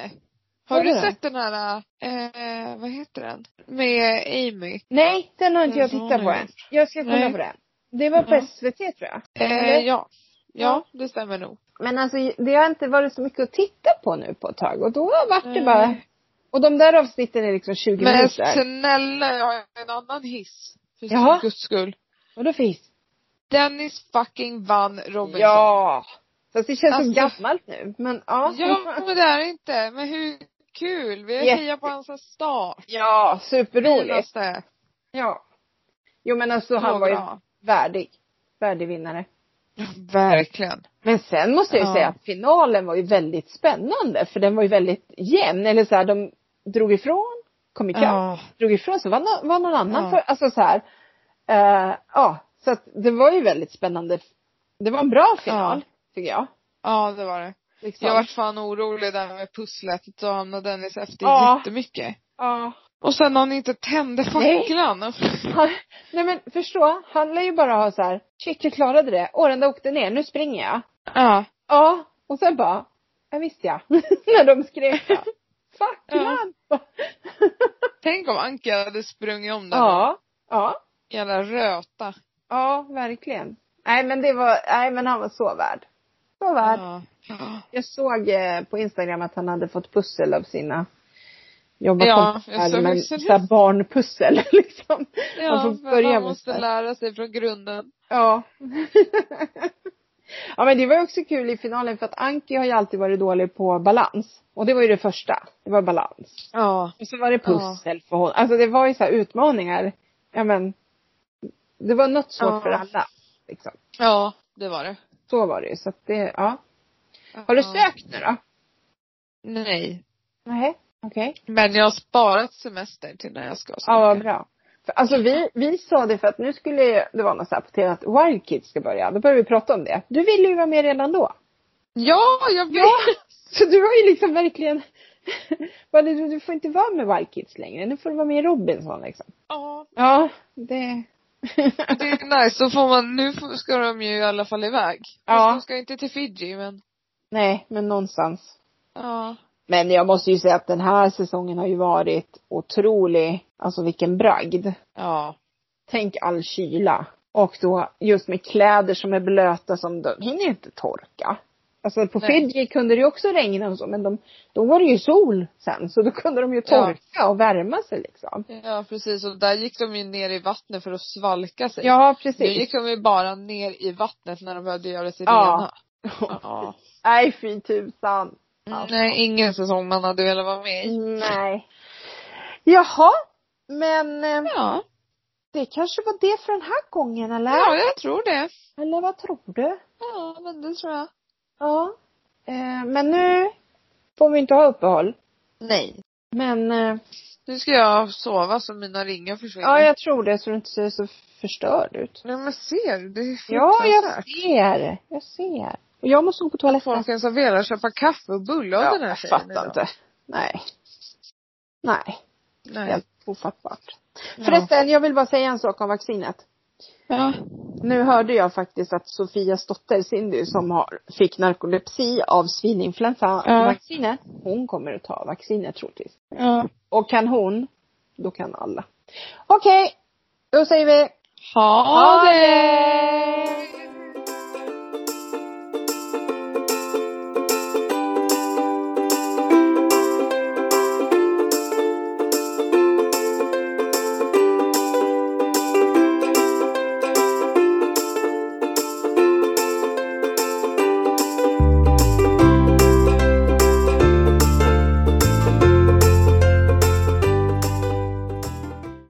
Speaker 2: Har
Speaker 1: Vad är
Speaker 2: du
Speaker 1: det?
Speaker 2: sett den här, eh, vad heter den? Med Amy.
Speaker 1: Nej, den har inte jag
Speaker 2: Mm,
Speaker 1: tittat på
Speaker 2: nej.
Speaker 1: än. Jag ska kolla
Speaker 2: Nej.
Speaker 1: på den. Det var på
Speaker 2: Ja.
Speaker 1: SVT tror jag.
Speaker 2: Eh,
Speaker 1: Eller?
Speaker 2: ja. Ja, det stämmer nog.
Speaker 1: Men alltså det har inte varit så mycket att titta på nu på ett tag och då vart det
Speaker 2: Nej.
Speaker 1: bara och de där avsnitten är liksom 20
Speaker 2: Men
Speaker 1: minuter.
Speaker 2: snälla, jag har en annan hiss. För
Speaker 1: Jaha.
Speaker 2: guds skull.
Speaker 1: Och då finns
Speaker 2: Dennis fucking vann Robinson.
Speaker 1: Ja! Fast det känns så
Speaker 2: Alltså-
Speaker 1: gammalt nu. Men ja.
Speaker 2: Ja, men det är det inte. Men hur kul! Vi
Speaker 1: Jätte-
Speaker 2: hejar på hans start.
Speaker 1: [laughs] Ja, superroligt.
Speaker 2: Finaste.
Speaker 1: Ja. Jo men alltså han var ju
Speaker 2: Några.
Speaker 1: värdig. Värdig vinnare.
Speaker 2: Verkligen.
Speaker 1: Men sen måste jag ju
Speaker 2: Ja.
Speaker 1: säga att finalen var ju väldigt spännande för den var ju väldigt jämn. Eller så här, de drog ifrån, kom ikapp,
Speaker 2: Ja.
Speaker 1: drog ifrån, så var, nå- var någon annan
Speaker 2: Ja.
Speaker 1: för, alltså så här. Eh, ja, så att det var ju väldigt spännande. Det var en bra final, tycker jag.
Speaker 2: Ja, det var det.
Speaker 1: Liksom.
Speaker 2: Jag vart fan orolig där med pusslet. Då hamnade Dennis efter
Speaker 1: Ja.
Speaker 2: jättemycket.
Speaker 1: Ja.
Speaker 2: Och sen någon inte tände
Speaker 1: Nej.
Speaker 2: facklan.
Speaker 1: Han, [laughs] nej men förstå, han lär ju bara ha så här, shit jag klarade det, åh den där åkte ner, nu springer jag.
Speaker 2: Ja.
Speaker 1: Ja, och sen bara, ja visst ja. [laughs] När de skrek ja. Facklan! [laughs] Ja.
Speaker 2: Tänk om Anka hade sprungit om den.
Speaker 1: ja, ja,
Speaker 2: Jävla röta.
Speaker 1: ja, verkligen. Nej men det var, nej men han var så värd. Så värd.
Speaker 2: Ja. Ja.
Speaker 1: Jag såg eh, på Instagram att han hade fått pussel av sina jobbat
Speaker 2: Ja,
Speaker 1: kompisar
Speaker 2: jag såg
Speaker 1: med
Speaker 2: också det.
Speaker 1: så här barnpussel [laughs] liksom.
Speaker 2: Ja,
Speaker 1: får
Speaker 2: för
Speaker 1: börja
Speaker 2: man
Speaker 1: med
Speaker 2: måste
Speaker 1: det.
Speaker 2: lära sig från grunden.
Speaker 1: Ja. [laughs] ja men det var ju också kul i finalen för att Anki har ju alltid varit dålig på balans. Och det var ju det första. Det var balans.
Speaker 2: Ja.
Speaker 1: Och så var det pussel för honom. Alltså det var ju så här utmaningar. Ja men. Det var något svårt
Speaker 2: Ja.
Speaker 1: för alla. Liksom.
Speaker 2: Ja, det var det.
Speaker 1: Så var det ju. Så att det, ja. Har du
Speaker 2: Ja.
Speaker 1: sökt nu då?
Speaker 2: Nej.
Speaker 1: Nej. Okej.
Speaker 2: Men jag har sparat semester till när jag ska söka.
Speaker 1: Ja vad bra. För, alltså vi, vi sa det för att nu skulle ju- det var något så här på tv att Wild Kids ska börja. Då började vi prata om det. Du ville ju vara med redan då.
Speaker 2: Ja, jag vet!
Speaker 1: Ja, [laughs] så du har ju liksom verkligen [laughs] Bara, du, du får inte vara med Wild Kids längre, nu får du vara med i Robinson liksom.
Speaker 2: Ja,
Speaker 1: Ja, det [laughs]
Speaker 2: det är nice. Då får man, nu får- ska de ju i alla fall iväg.
Speaker 1: Ja.
Speaker 2: Ja. De ska inte till Fiji, men
Speaker 1: Nej, men någonstans.
Speaker 2: ja.
Speaker 1: Men jag måste ju säga att den här säsongen har ju varit otrolig, alltså vilken bragd.
Speaker 2: Ja.
Speaker 1: Tänk all kyla. Och då just med kläder som är blöta som de hinner ju inte torka. Alltså på
Speaker 2: Nej.
Speaker 1: Fiji kunde det ju också regna och så men de, då var det ju sol sen så då kunde de ju
Speaker 2: Ja.
Speaker 1: torka och värma sig liksom.
Speaker 2: Ja, precis. Och där gick de ju ner i vattnet för att svalka sig.
Speaker 1: Ja
Speaker 2: Nu
Speaker 1: precis.
Speaker 2: gick de ju liksom bara ner i vattnet när de behövde göra sig
Speaker 1: Ja.
Speaker 2: rena. [laughs] Ja.
Speaker 1: Nej fy tusan. Alltså,
Speaker 2: Mm, Nej, ingen säsong man hade velat vara med i.
Speaker 1: Nej. Jaha. Men eh,
Speaker 2: Ja.
Speaker 1: det kanske var det för den här gången eller?
Speaker 2: Ja, jag tror det.
Speaker 1: Eller vad tror du?
Speaker 2: Ja, men det tror jag.
Speaker 1: Ja. Eh, men nu får vi inte ha uppehåll.
Speaker 2: Nej.
Speaker 1: Men eh,
Speaker 2: Nu ska jag sova så mina ringar försvinner.
Speaker 1: ja jag tror det så du inte ser så förstörd ut.
Speaker 2: Nej men ser du? Det är
Speaker 1: Ja jag
Speaker 2: fruktansvärt.
Speaker 1: ser. Jag ser. Och jag måste gå på toaletten.
Speaker 2: Folk ens har velat köpa kaffe och bulle av
Speaker 1: ja,
Speaker 2: den här
Speaker 1: jag
Speaker 2: tjejen
Speaker 1: fattar
Speaker 2: idag.
Speaker 1: inte. Nej. Nej.
Speaker 2: Nej.
Speaker 1: Helt ofattbart.
Speaker 2: Ja.
Speaker 1: Förresten jag vill bara säga en sak om vaccinet.
Speaker 2: Ja.
Speaker 1: Nu hörde jag faktiskt att Sofias dotter Cindy som har, fick narkolepsi av
Speaker 2: Ja.
Speaker 1: svininfluensavaccinet, hon kommer att ta vaccinet troligtvis.
Speaker 2: ja.
Speaker 1: Och kan hon, då kan alla. Okej, då säger vi
Speaker 2: Ha det!